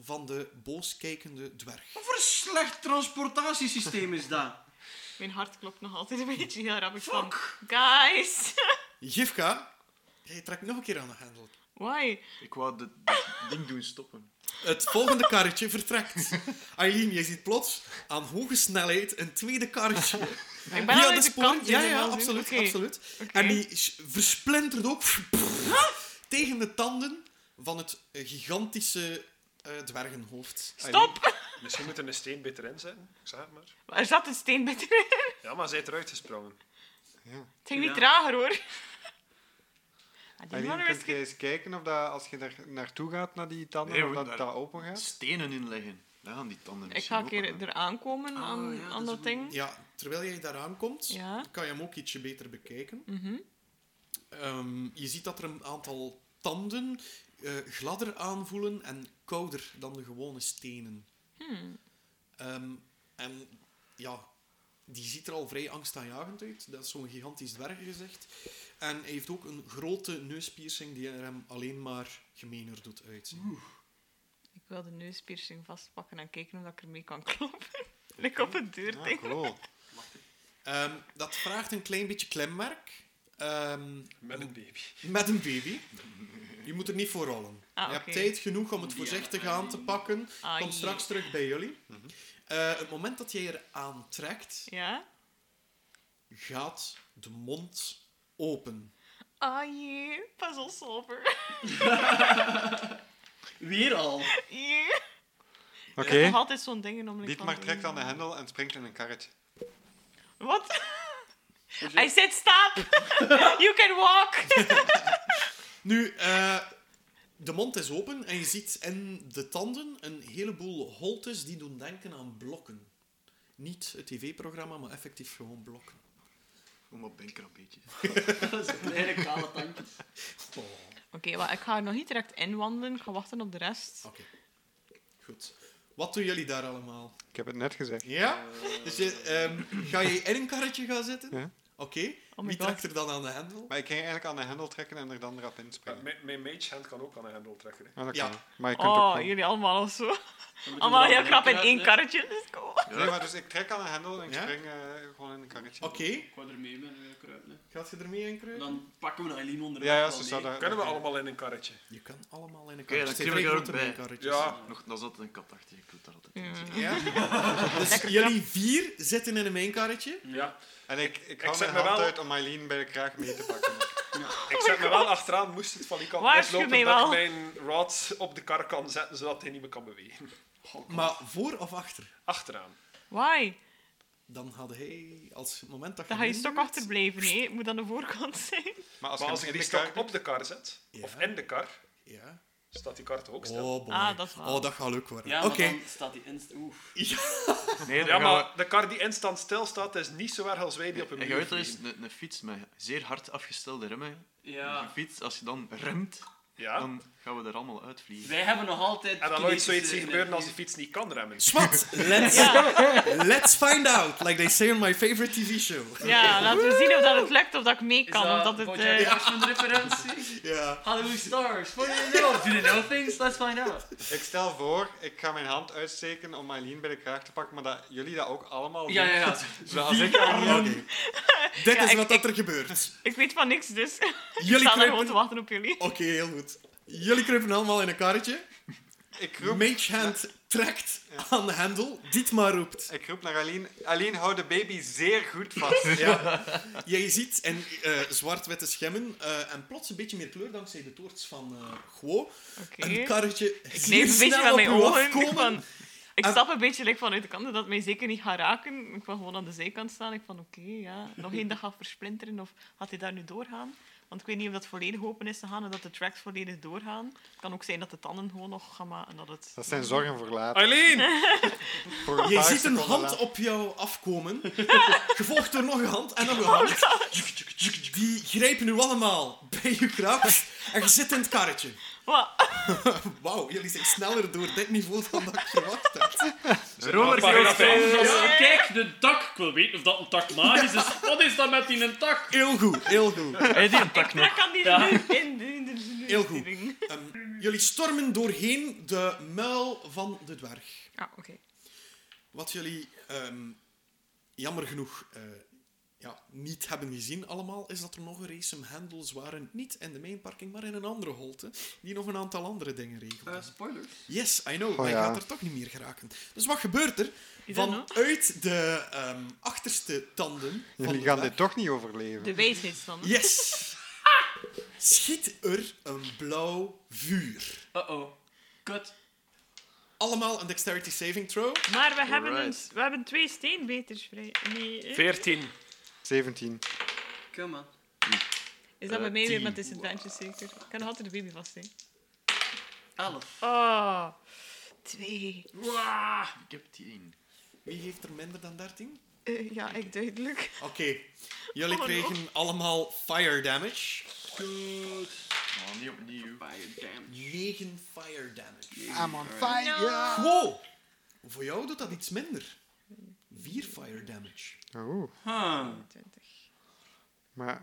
[SPEAKER 4] van de booskijkende dwerg.
[SPEAKER 2] Wat voor een slecht transportatiesysteem is dat?
[SPEAKER 5] Mijn hart klopt nog altijd een beetje heel rap. Ik van, guys.
[SPEAKER 4] Jivka, jij trekt nog een keer aan de hendel.
[SPEAKER 5] Why?
[SPEAKER 6] Ik wou het ding doen stoppen.
[SPEAKER 4] Het volgende karretje vertrekt. Aileen, jij ziet plots aan hoge snelheid een tweede karretje
[SPEAKER 5] Ik ben
[SPEAKER 4] via
[SPEAKER 5] al
[SPEAKER 4] de
[SPEAKER 5] aan de
[SPEAKER 4] sporen.
[SPEAKER 5] kant.
[SPEAKER 4] Ja,
[SPEAKER 5] dus
[SPEAKER 4] ja,
[SPEAKER 5] wel zien.
[SPEAKER 4] absoluut,
[SPEAKER 5] Oké.
[SPEAKER 4] absoluut.
[SPEAKER 5] Oké.
[SPEAKER 4] En die s- versplintert ook tegen de tanden van het eh, gigantische eh, dwergenhoofd.
[SPEAKER 5] Stop!
[SPEAKER 1] Misschien moeten we een steen beter inzetten. Ik zeg het maar.
[SPEAKER 5] Er zat een steen bij erin.
[SPEAKER 1] Ja, maar zij is eruit gesprongen.
[SPEAKER 5] Het ging niet
[SPEAKER 2] Ja.
[SPEAKER 5] trager hoor. Ah, Die
[SPEAKER 3] Eileen,
[SPEAKER 5] man
[SPEAKER 3] kun
[SPEAKER 5] is
[SPEAKER 3] je eens kijken of dat, als je daar naartoe gaat, naar die tanden,
[SPEAKER 6] Nee,
[SPEAKER 3] of
[SPEAKER 6] we
[SPEAKER 3] dat,
[SPEAKER 6] moeten
[SPEAKER 3] dat open gaat?
[SPEAKER 6] Stenen inleggen. Dan gaan die tanden
[SPEAKER 5] Ik
[SPEAKER 6] misschien
[SPEAKER 5] ga een keer
[SPEAKER 6] open gaan.
[SPEAKER 5] eraan komen aan,
[SPEAKER 2] ja,
[SPEAKER 5] aan
[SPEAKER 2] dat
[SPEAKER 5] dat
[SPEAKER 2] is een
[SPEAKER 5] ding.
[SPEAKER 4] Ja, terwijl jij daaraan komt,
[SPEAKER 5] Ja.
[SPEAKER 4] kan je hem ook ietsje beter bekijken.
[SPEAKER 5] Mhm.
[SPEAKER 4] Ehm, je ziet dat er een aantal tanden eh, gladder aanvoelen en kouder dan de gewone stenen.
[SPEAKER 5] Hmm.
[SPEAKER 4] Ehm, en ja, die ziet er al vrij angstaanjagend uit. Dat is zo'n gigantisch dwergengezicht. En hij heeft ook een grote neuspiercing die er hem alleen maar gemener doet uitzien.
[SPEAKER 5] Ik wil de neuspiercing vastpakken en kijken of ik ermee kan kloppen. Lik op het deurding.
[SPEAKER 3] Ah, cool.
[SPEAKER 4] Ehm, dat vraagt een klein beetje klemmerk. Ehm,
[SPEAKER 1] Met een baby.
[SPEAKER 4] Met een baby. Je moet er niet voor rollen.
[SPEAKER 5] Ah,
[SPEAKER 4] Je hebt
[SPEAKER 5] oké.
[SPEAKER 4] tijd genoeg om het voorzichtig aan te pakken.
[SPEAKER 5] Ah,
[SPEAKER 4] Kom
[SPEAKER 5] jee.
[SPEAKER 1] Mhm.
[SPEAKER 4] straks terug bij jullie. Eh, het moment dat jij er aantrekt,
[SPEAKER 5] Ja?
[SPEAKER 4] gaat de mond open.
[SPEAKER 5] Ah jee, puzzle solver.
[SPEAKER 2] Weer al.
[SPEAKER 5] Jee.
[SPEAKER 3] Oké.
[SPEAKER 5] Er is nog altijd zo'n dingen om.
[SPEAKER 3] Dietmar trekt aan de hendel en springt in een karretje.
[SPEAKER 5] Wat?
[SPEAKER 2] Dus
[SPEAKER 5] I said stop! you can walk!
[SPEAKER 4] Nu, eh, de mond is open en je ziet in de tanden een heleboel holtes die doen denken aan blokken. Niet het tv-programma, maar effectief gewoon blokken.
[SPEAKER 6] Kom op, denk er een beetje.
[SPEAKER 2] Zo'n kleine kale tandjes.
[SPEAKER 4] Oh,
[SPEAKER 5] Oké, maar ik ga er nog niet direct inwandelen. Ik ga wachten op de rest.
[SPEAKER 2] Oh,
[SPEAKER 4] Oké, goed. Wat doen jullie daar allemaal?
[SPEAKER 3] Ik heb het net gezegd.
[SPEAKER 4] Ja? Dus je, ehm, ga je in een karretje gaan zitten?
[SPEAKER 3] Ja.
[SPEAKER 4] Oké.
[SPEAKER 5] Oh my
[SPEAKER 4] Wie
[SPEAKER 5] god.
[SPEAKER 4] trekt er dan aan de hendel?
[SPEAKER 3] Maar ik ging eigenlijk aan de hendel trekken en er dan erop inspringen.
[SPEAKER 1] Mijn, mijn mage hand kan ook aan de hendel trekken. hè.
[SPEAKER 3] Ah, dat
[SPEAKER 4] Ja.
[SPEAKER 3] kan. Maar je kunt ook
[SPEAKER 5] Oh,
[SPEAKER 3] gewoon-
[SPEAKER 5] jullie allemaal of zo.
[SPEAKER 2] Dan moeten
[SPEAKER 5] Allemaal
[SPEAKER 2] we
[SPEAKER 5] heel
[SPEAKER 2] wel
[SPEAKER 5] knap in
[SPEAKER 2] drinken,
[SPEAKER 5] één
[SPEAKER 2] hè.
[SPEAKER 5] karretje. Let's go.
[SPEAKER 3] Nee, maar dus ik trek aan de hendel en ik
[SPEAKER 4] Ja?
[SPEAKER 3] spring eh, gewoon in een karretje.
[SPEAKER 4] Oké,
[SPEAKER 2] Ik wou er mee met eh, kruipen. hè.
[SPEAKER 4] gaat je er mee in
[SPEAKER 2] En
[SPEAKER 4] kruipen?
[SPEAKER 2] dan pakken we Eileen onder
[SPEAKER 3] Ja, ja, ze staat daar.
[SPEAKER 1] Kunnen we allemaal in een karretje?
[SPEAKER 4] Je kan allemaal in een
[SPEAKER 6] Oké, dan
[SPEAKER 4] karretje.
[SPEAKER 6] klim ik er ook bij.
[SPEAKER 4] Ja.
[SPEAKER 1] Ja.
[SPEAKER 6] Nog, dan zat een kat achter je, ik doe daar altijd in
[SPEAKER 5] Ja.
[SPEAKER 6] zitten.
[SPEAKER 4] ja. Dus jullie vier zitten in een karretje.
[SPEAKER 1] ja.
[SPEAKER 3] En ik, ik hou
[SPEAKER 1] zet
[SPEAKER 3] mijn
[SPEAKER 1] me
[SPEAKER 3] hand
[SPEAKER 1] wel-
[SPEAKER 3] uit om Eileen bij de kraag mee te pakken.
[SPEAKER 1] Ik zet me wel achteraan, moest het van die kant
[SPEAKER 5] Waarschuw
[SPEAKER 1] mislopen,
[SPEAKER 5] mij
[SPEAKER 1] dat ik
[SPEAKER 5] wel.
[SPEAKER 1] mijn rod op de kar kan zetten, zodat hij niet meer kan bewegen.
[SPEAKER 4] Maar voor of achter?
[SPEAKER 1] Achteraan.
[SPEAKER 5] Why?
[SPEAKER 4] Dan had hij, als het moment dat je...
[SPEAKER 5] Dan ga je
[SPEAKER 4] mee
[SPEAKER 5] stok
[SPEAKER 4] bent-
[SPEAKER 5] achterblijven. Nee, het moet aan de voorkant zijn.
[SPEAKER 3] Maar als,
[SPEAKER 1] Maar
[SPEAKER 3] je
[SPEAKER 1] als
[SPEAKER 3] hem
[SPEAKER 1] ik
[SPEAKER 3] in
[SPEAKER 1] die
[SPEAKER 3] de kar
[SPEAKER 1] stok op de kar zet,
[SPEAKER 4] Ja.
[SPEAKER 1] of in de kar,
[SPEAKER 4] Ja.
[SPEAKER 1] staat die kar toch ook stil.
[SPEAKER 4] Oh, boy.
[SPEAKER 5] Ah, dat is waar.
[SPEAKER 4] Oh, dat gaat leuk worden.
[SPEAKER 2] Ja, maar
[SPEAKER 4] Oké.
[SPEAKER 2] dan staat die inst... Oef.
[SPEAKER 6] Nee,
[SPEAKER 1] Ja, maar de kar die instant stil staat, is niet zo erg als wij die op een
[SPEAKER 6] En je
[SPEAKER 1] muur
[SPEAKER 6] weet dat is
[SPEAKER 1] vliegen.
[SPEAKER 6] een, een fiets met zeer hard afgestelde remmen. Een
[SPEAKER 2] Ja.
[SPEAKER 6] fiets, als je dan remt,
[SPEAKER 1] Ja?
[SPEAKER 6] dan gaan we er allemaal uitvliegen.
[SPEAKER 2] Wij hebben nog altijd... eh,
[SPEAKER 1] En dan nooit zoiets
[SPEAKER 2] kinetische
[SPEAKER 1] zien gebeuren als die
[SPEAKER 2] energie.
[SPEAKER 1] fiets niet kan remmen.
[SPEAKER 4] Swat, let's, let's find out, like they say on my favorite TV show.
[SPEAKER 5] Ja, laten we zien of dat het lukt of dat ik mee
[SPEAKER 2] Is
[SPEAKER 5] kan.
[SPEAKER 2] dat
[SPEAKER 5] of dat het,
[SPEAKER 2] Bojack
[SPEAKER 5] eh,
[SPEAKER 2] Horseman referentie?
[SPEAKER 4] Ja.
[SPEAKER 2] Hollywood stars. What do you know? Do you know things? Let's find out.
[SPEAKER 3] Ik stel voor, ik ga mijn hand uitsteken om Eileen bij de kraag te pakken, maar dat jullie dat ook allemaal doen.
[SPEAKER 2] Ja, ja, ja.
[SPEAKER 3] Zo, als ik Eileen-
[SPEAKER 4] Oké. Dit
[SPEAKER 5] Ja,
[SPEAKER 4] is
[SPEAKER 5] ik-
[SPEAKER 4] wat dat
[SPEAKER 5] ik-
[SPEAKER 4] er gebeurt.
[SPEAKER 5] Ik weet van niks, dus ik
[SPEAKER 4] Jullie
[SPEAKER 5] sta daar gewoon te
[SPEAKER 4] kruipen...
[SPEAKER 5] wachten op jullie.
[SPEAKER 4] Oké, heel goed. Jullie kruipen allemaal in een karretje.
[SPEAKER 3] ik, roep,
[SPEAKER 4] Mage Hand trekt aan de hendel. Dietmar roept.
[SPEAKER 3] ik roep naar Eileen. Eileen, hou de baby zeer goed vast.
[SPEAKER 4] Ja. Jij ziet en eh, zwart-witte schimmen eh, en plots een beetje meer kleur dankzij de toorts van eh Guo.
[SPEAKER 5] Oké.
[SPEAKER 4] Een karretje
[SPEAKER 5] Ik
[SPEAKER 4] hier
[SPEAKER 5] neem een beetje
[SPEAKER 4] snel
[SPEAKER 5] van
[SPEAKER 4] op
[SPEAKER 5] mijn
[SPEAKER 4] u
[SPEAKER 5] ogen. Ik,
[SPEAKER 4] afkomen.
[SPEAKER 5] van, ik
[SPEAKER 4] En-
[SPEAKER 5] stap een beetje like, vanuit de kant dat het mij zeker niet gaat raken. Ik wil gewoon aan de zijkant staan. Ik van oké, ja. Nog één dag gaat versplinteren of gaat hij daar nu doorgaan? Want ik weet niet of dat volledig open is te gaan en dat de tracks volledig doorgaan. Het kan ook zijn dat de tanden gewoon nog gaan maken en dat het...
[SPEAKER 3] Dat zijn zorgen voor later.
[SPEAKER 1] Eileen!
[SPEAKER 3] Voor een
[SPEAKER 4] Je
[SPEAKER 3] paar
[SPEAKER 4] ziet een
[SPEAKER 3] seconden
[SPEAKER 4] hand
[SPEAKER 3] later.
[SPEAKER 4] op jou afkomen, gevolgd door nog een hand en nog een hand.
[SPEAKER 5] Oh,
[SPEAKER 4] Die grijpen nu allemaal bij je kraag en je zit in het karretje.
[SPEAKER 5] Wat?
[SPEAKER 4] Wauw, jullie zijn sneller door dit niveau dan dat ik verwacht had.
[SPEAKER 1] Roller
[SPEAKER 5] Ja.
[SPEAKER 7] Kijk, de tak. Ik wil weten of dat een tak magisch is. Wat is dat met die een tak?
[SPEAKER 4] Heel goed, heel goed.
[SPEAKER 6] Hey, die een tak
[SPEAKER 5] Ik kan die
[SPEAKER 7] Ja.
[SPEAKER 5] nu in, in, in-
[SPEAKER 4] Heel goed.
[SPEAKER 5] in-
[SPEAKER 4] Ehm, jullie stormen doorheen de muil van de dwerg.
[SPEAKER 5] Ah, oké.
[SPEAKER 4] Wat jullie ehm, jammer genoeg eh, ja, niet hebben gezien allemaal, is dat er nog een race handles waren. Niet in de mainparking, maar in een andere holte, die nog een aantal andere dingen regelden.
[SPEAKER 2] Eh, spoilers.
[SPEAKER 4] yes, I know,
[SPEAKER 3] Oh
[SPEAKER 4] maar je
[SPEAKER 3] ja.
[SPEAKER 4] gaat er toch niet meer geraken. Dus wat gebeurt er?
[SPEAKER 5] You don't know?
[SPEAKER 4] Vanuit de ehm, achterste tanden van
[SPEAKER 3] Jullie
[SPEAKER 4] de
[SPEAKER 3] gaan
[SPEAKER 4] dwerg-
[SPEAKER 3] dit toch niet overleven.
[SPEAKER 5] De wijsheidsstand.
[SPEAKER 4] Yes! Schiet er een blauw vuur.
[SPEAKER 2] Uh-oh. Kut.
[SPEAKER 4] Allemaal een dexterity saving throw.
[SPEAKER 5] Maar we hebben, een,
[SPEAKER 6] Alright.
[SPEAKER 5] we hebben twee steenbeters vrij. Nee, eh.
[SPEAKER 1] 14.
[SPEAKER 3] 17.
[SPEAKER 2] Come on.
[SPEAKER 5] Is dat bij mij
[SPEAKER 6] Eh,
[SPEAKER 5] weer
[SPEAKER 6] tien.
[SPEAKER 5] met disadvantage zeker? Ik kan nog altijd de baby vast zijn.
[SPEAKER 2] Elf.
[SPEAKER 5] Oh, twee.
[SPEAKER 2] Ah,
[SPEAKER 6] Ik heb tien.
[SPEAKER 4] Wie heeft er minder dan 13?
[SPEAKER 5] Eh, ja, ik duidelijk.
[SPEAKER 4] Oké, jullie
[SPEAKER 5] Oh, no.
[SPEAKER 4] kregen allemaal fire damage.
[SPEAKER 6] Maar niet opnieuw.
[SPEAKER 2] Fire damn.
[SPEAKER 4] 9 fire damage.
[SPEAKER 3] I'm on fire.
[SPEAKER 4] Wow! Voor jou doet dat iets minder. 4 fire damage.
[SPEAKER 3] Oeh,
[SPEAKER 2] Huh.
[SPEAKER 5] 20.
[SPEAKER 3] maar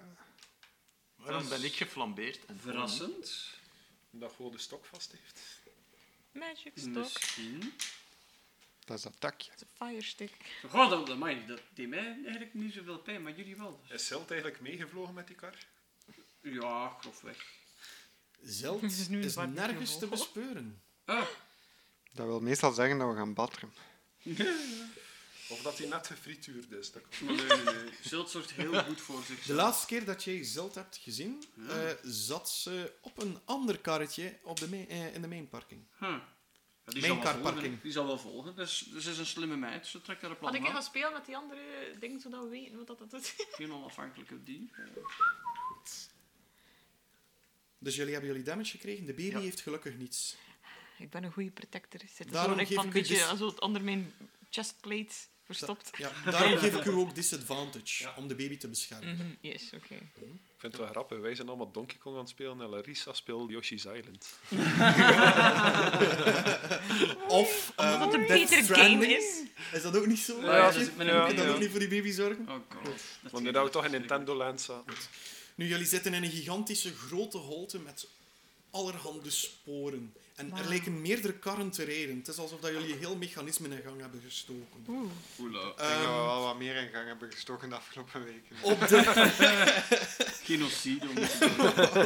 [SPEAKER 6] Waarom ben ik geflambeerd? En
[SPEAKER 2] Verrassend.
[SPEAKER 1] Dat gewoon de stok vast heeft.
[SPEAKER 5] Magic
[SPEAKER 4] Dus
[SPEAKER 5] stock.
[SPEAKER 2] Misschien.
[SPEAKER 3] dat is dat takje.
[SPEAKER 5] It's a fire stick.
[SPEAKER 2] God, dat, dat, amai, dat deed mij eigenlijk niet zoveel pijn, maar jullie wel. Dus-
[SPEAKER 1] Is Silt eigenlijk meegevlogen met die kar?
[SPEAKER 2] Ja, grofweg.
[SPEAKER 4] Zeld
[SPEAKER 5] Het
[SPEAKER 4] is,
[SPEAKER 5] is nu een zwart
[SPEAKER 4] nergens
[SPEAKER 5] piepje
[SPEAKER 4] te
[SPEAKER 5] omhoog.
[SPEAKER 4] bespeuren.
[SPEAKER 2] Ah.
[SPEAKER 3] Dat wil meestal zeggen dat we gaan batteren.
[SPEAKER 1] Of dat hij net gefrituurd is. Dat kan.
[SPEAKER 2] Nee, nee, nee. Zult zorgt heel goed voor
[SPEAKER 4] De
[SPEAKER 2] zichzelf.
[SPEAKER 4] laatste keer dat jij Zilt hebt gezien, eh, zat ze op een ander karretje op de main- eh, in de mainparking.
[SPEAKER 2] Huh. Hmm. Ja, die,
[SPEAKER 4] Mijn
[SPEAKER 2] zal wel volgen.
[SPEAKER 4] karparking.
[SPEAKER 2] die zal wel volgen. Dus, dus is een slimme meid. Ze trekt haar een
[SPEAKER 5] Had ik
[SPEAKER 2] plan
[SPEAKER 5] gaan
[SPEAKER 2] aan.
[SPEAKER 5] spelen met die andere dingen, zodat we weten wat dat, dat is.
[SPEAKER 2] Geen onafhankelijke die.
[SPEAKER 4] Dus jullie hebben jullie damage gekregen. De baby
[SPEAKER 6] Ja.
[SPEAKER 4] heeft gelukkig niets.
[SPEAKER 5] Ik ben een goede protector. Zit er
[SPEAKER 4] Daarom
[SPEAKER 5] zo een
[SPEAKER 4] geef
[SPEAKER 5] van
[SPEAKER 4] ik
[SPEAKER 5] een
[SPEAKER 4] u
[SPEAKER 5] beetje
[SPEAKER 4] dus-
[SPEAKER 5] zo onder mijn chestplate verstopt.
[SPEAKER 4] Ja, daarom geef ik u ook disadvantage, om de baby te beschermen.
[SPEAKER 5] Mhm, Yes, oké.
[SPEAKER 4] Eh,
[SPEAKER 1] Ik vind het wel grappig. Wij zijn allemaal Donkey Kong aan het spelen en Larissa speelt Yoshi's Island.
[SPEAKER 4] Of eh,
[SPEAKER 5] Mm. Omdat het een
[SPEAKER 4] Death
[SPEAKER 5] Peter
[SPEAKER 4] Stranding.
[SPEAKER 5] Game is.
[SPEAKER 4] Is dat ook niet zo?
[SPEAKER 2] Ja,
[SPEAKER 4] Weet
[SPEAKER 2] dat
[SPEAKER 4] je?
[SPEAKER 2] is- ben ik
[SPEAKER 4] Moet
[SPEAKER 2] ook
[SPEAKER 4] je dan
[SPEAKER 2] niet,
[SPEAKER 4] ook
[SPEAKER 2] ja.
[SPEAKER 4] niet voor die baby zorgen?
[SPEAKER 2] Oh god.
[SPEAKER 1] Want nu dat we toch in Nintendo Land zaten.
[SPEAKER 4] Nu, jullie zitten in een gigantische grote holte met allerhande sporen. En er
[SPEAKER 5] Wauw. Ah.
[SPEAKER 4] lijken meerdere karren te rijden. Het is alsof dat jullie heel mechanismen in gang hebben gestoken.
[SPEAKER 5] Oeh.
[SPEAKER 2] Oela.
[SPEAKER 3] Ik denk dat we
[SPEAKER 4] Ehm,
[SPEAKER 3] wel wat meer in gang hebben gestoken de afgelopen weken.
[SPEAKER 4] op, de,
[SPEAKER 2] Genocide.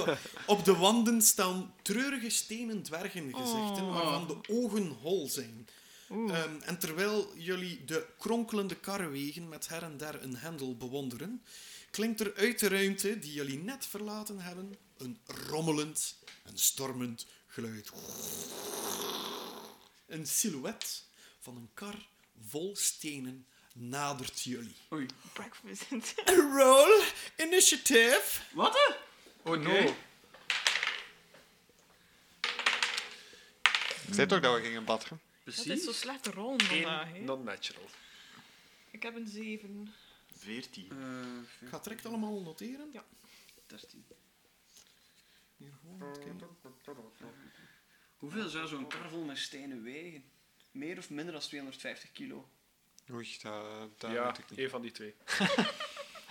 [SPEAKER 2] om-
[SPEAKER 4] op de wanden staan treurige stenen dwergengezichten,
[SPEAKER 5] Oh.
[SPEAKER 4] waarvan de ogen hol zijn.
[SPEAKER 5] Oeh.
[SPEAKER 4] Ehm, en terwijl jullie de kronkelende karrewegen met her en der een hendel bewonderen, klinkt er uit de ruimte die jullie net verlaten hebben een rommelend en stormend geluid. Een silhouet van een kar vol stenen nadert jullie.
[SPEAKER 2] Oei.
[SPEAKER 5] Breakfast.
[SPEAKER 4] Roll initiative.
[SPEAKER 2] Wat hè?
[SPEAKER 3] Oh no! Ik zei toch dat we gingen batteren?
[SPEAKER 5] Dat is zo
[SPEAKER 2] Precies.
[SPEAKER 5] slecht rollen vandaag. hè.
[SPEAKER 1] Non-natural.
[SPEAKER 5] Ik heb een 7.
[SPEAKER 6] 14.
[SPEAKER 2] Eh,
[SPEAKER 4] Ik ga het direct allemaal noteren. Ja.
[SPEAKER 2] 13.
[SPEAKER 4] Hier gewoon, kijken.
[SPEAKER 2] Hoeveel zou zo'n kar vol met stenen wegen? Meer of minder dan 250 kilo?
[SPEAKER 3] Oei, dat, dat
[SPEAKER 1] Ja,
[SPEAKER 3] weet ik niet.
[SPEAKER 1] één van die twee.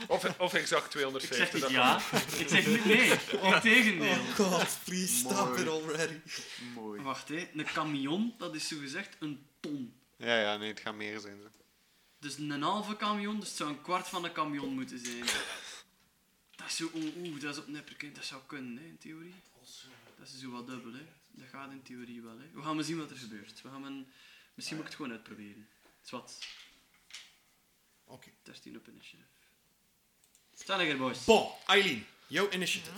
[SPEAKER 1] of, of exact 250.
[SPEAKER 2] Ik zeg niet
[SPEAKER 1] dat-
[SPEAKER 2] ja, ik zeg niet nee. Integendeel.
[SPEAKER 4] Oh god, please stop
[SPEAKER 6] Mooi.
[SPEAKER 4] it already.
[SPEAKER 6] Mooi.
[SPEAKER 2] Wacht hé, een camion, dat is zogezegd een ton.
[SPEAKER 3] Ja, ja, nee, het gaat meer zijn. zo.
[SPEAKER 2] Dus een halve camion, dus het zou een kwart van een camion moeten zijn. Dat is zo, oeh, oeh, dat is op nepperkind, dat zou kunnen hè, in theorie. Dat is zo wat dubbel hè. Dat gaat in theorie wel hè. We gaan maar zien wat er gebeurt. We gaan men... Misschien moet ik het gewoon uitproberen. Zwat,
[SPEAKER 4] Oké.
[SPEAKER 2] 13 op initiative. Staan er, boys.
[SPEAKER 4] Bon, Eileen, jouw initiative.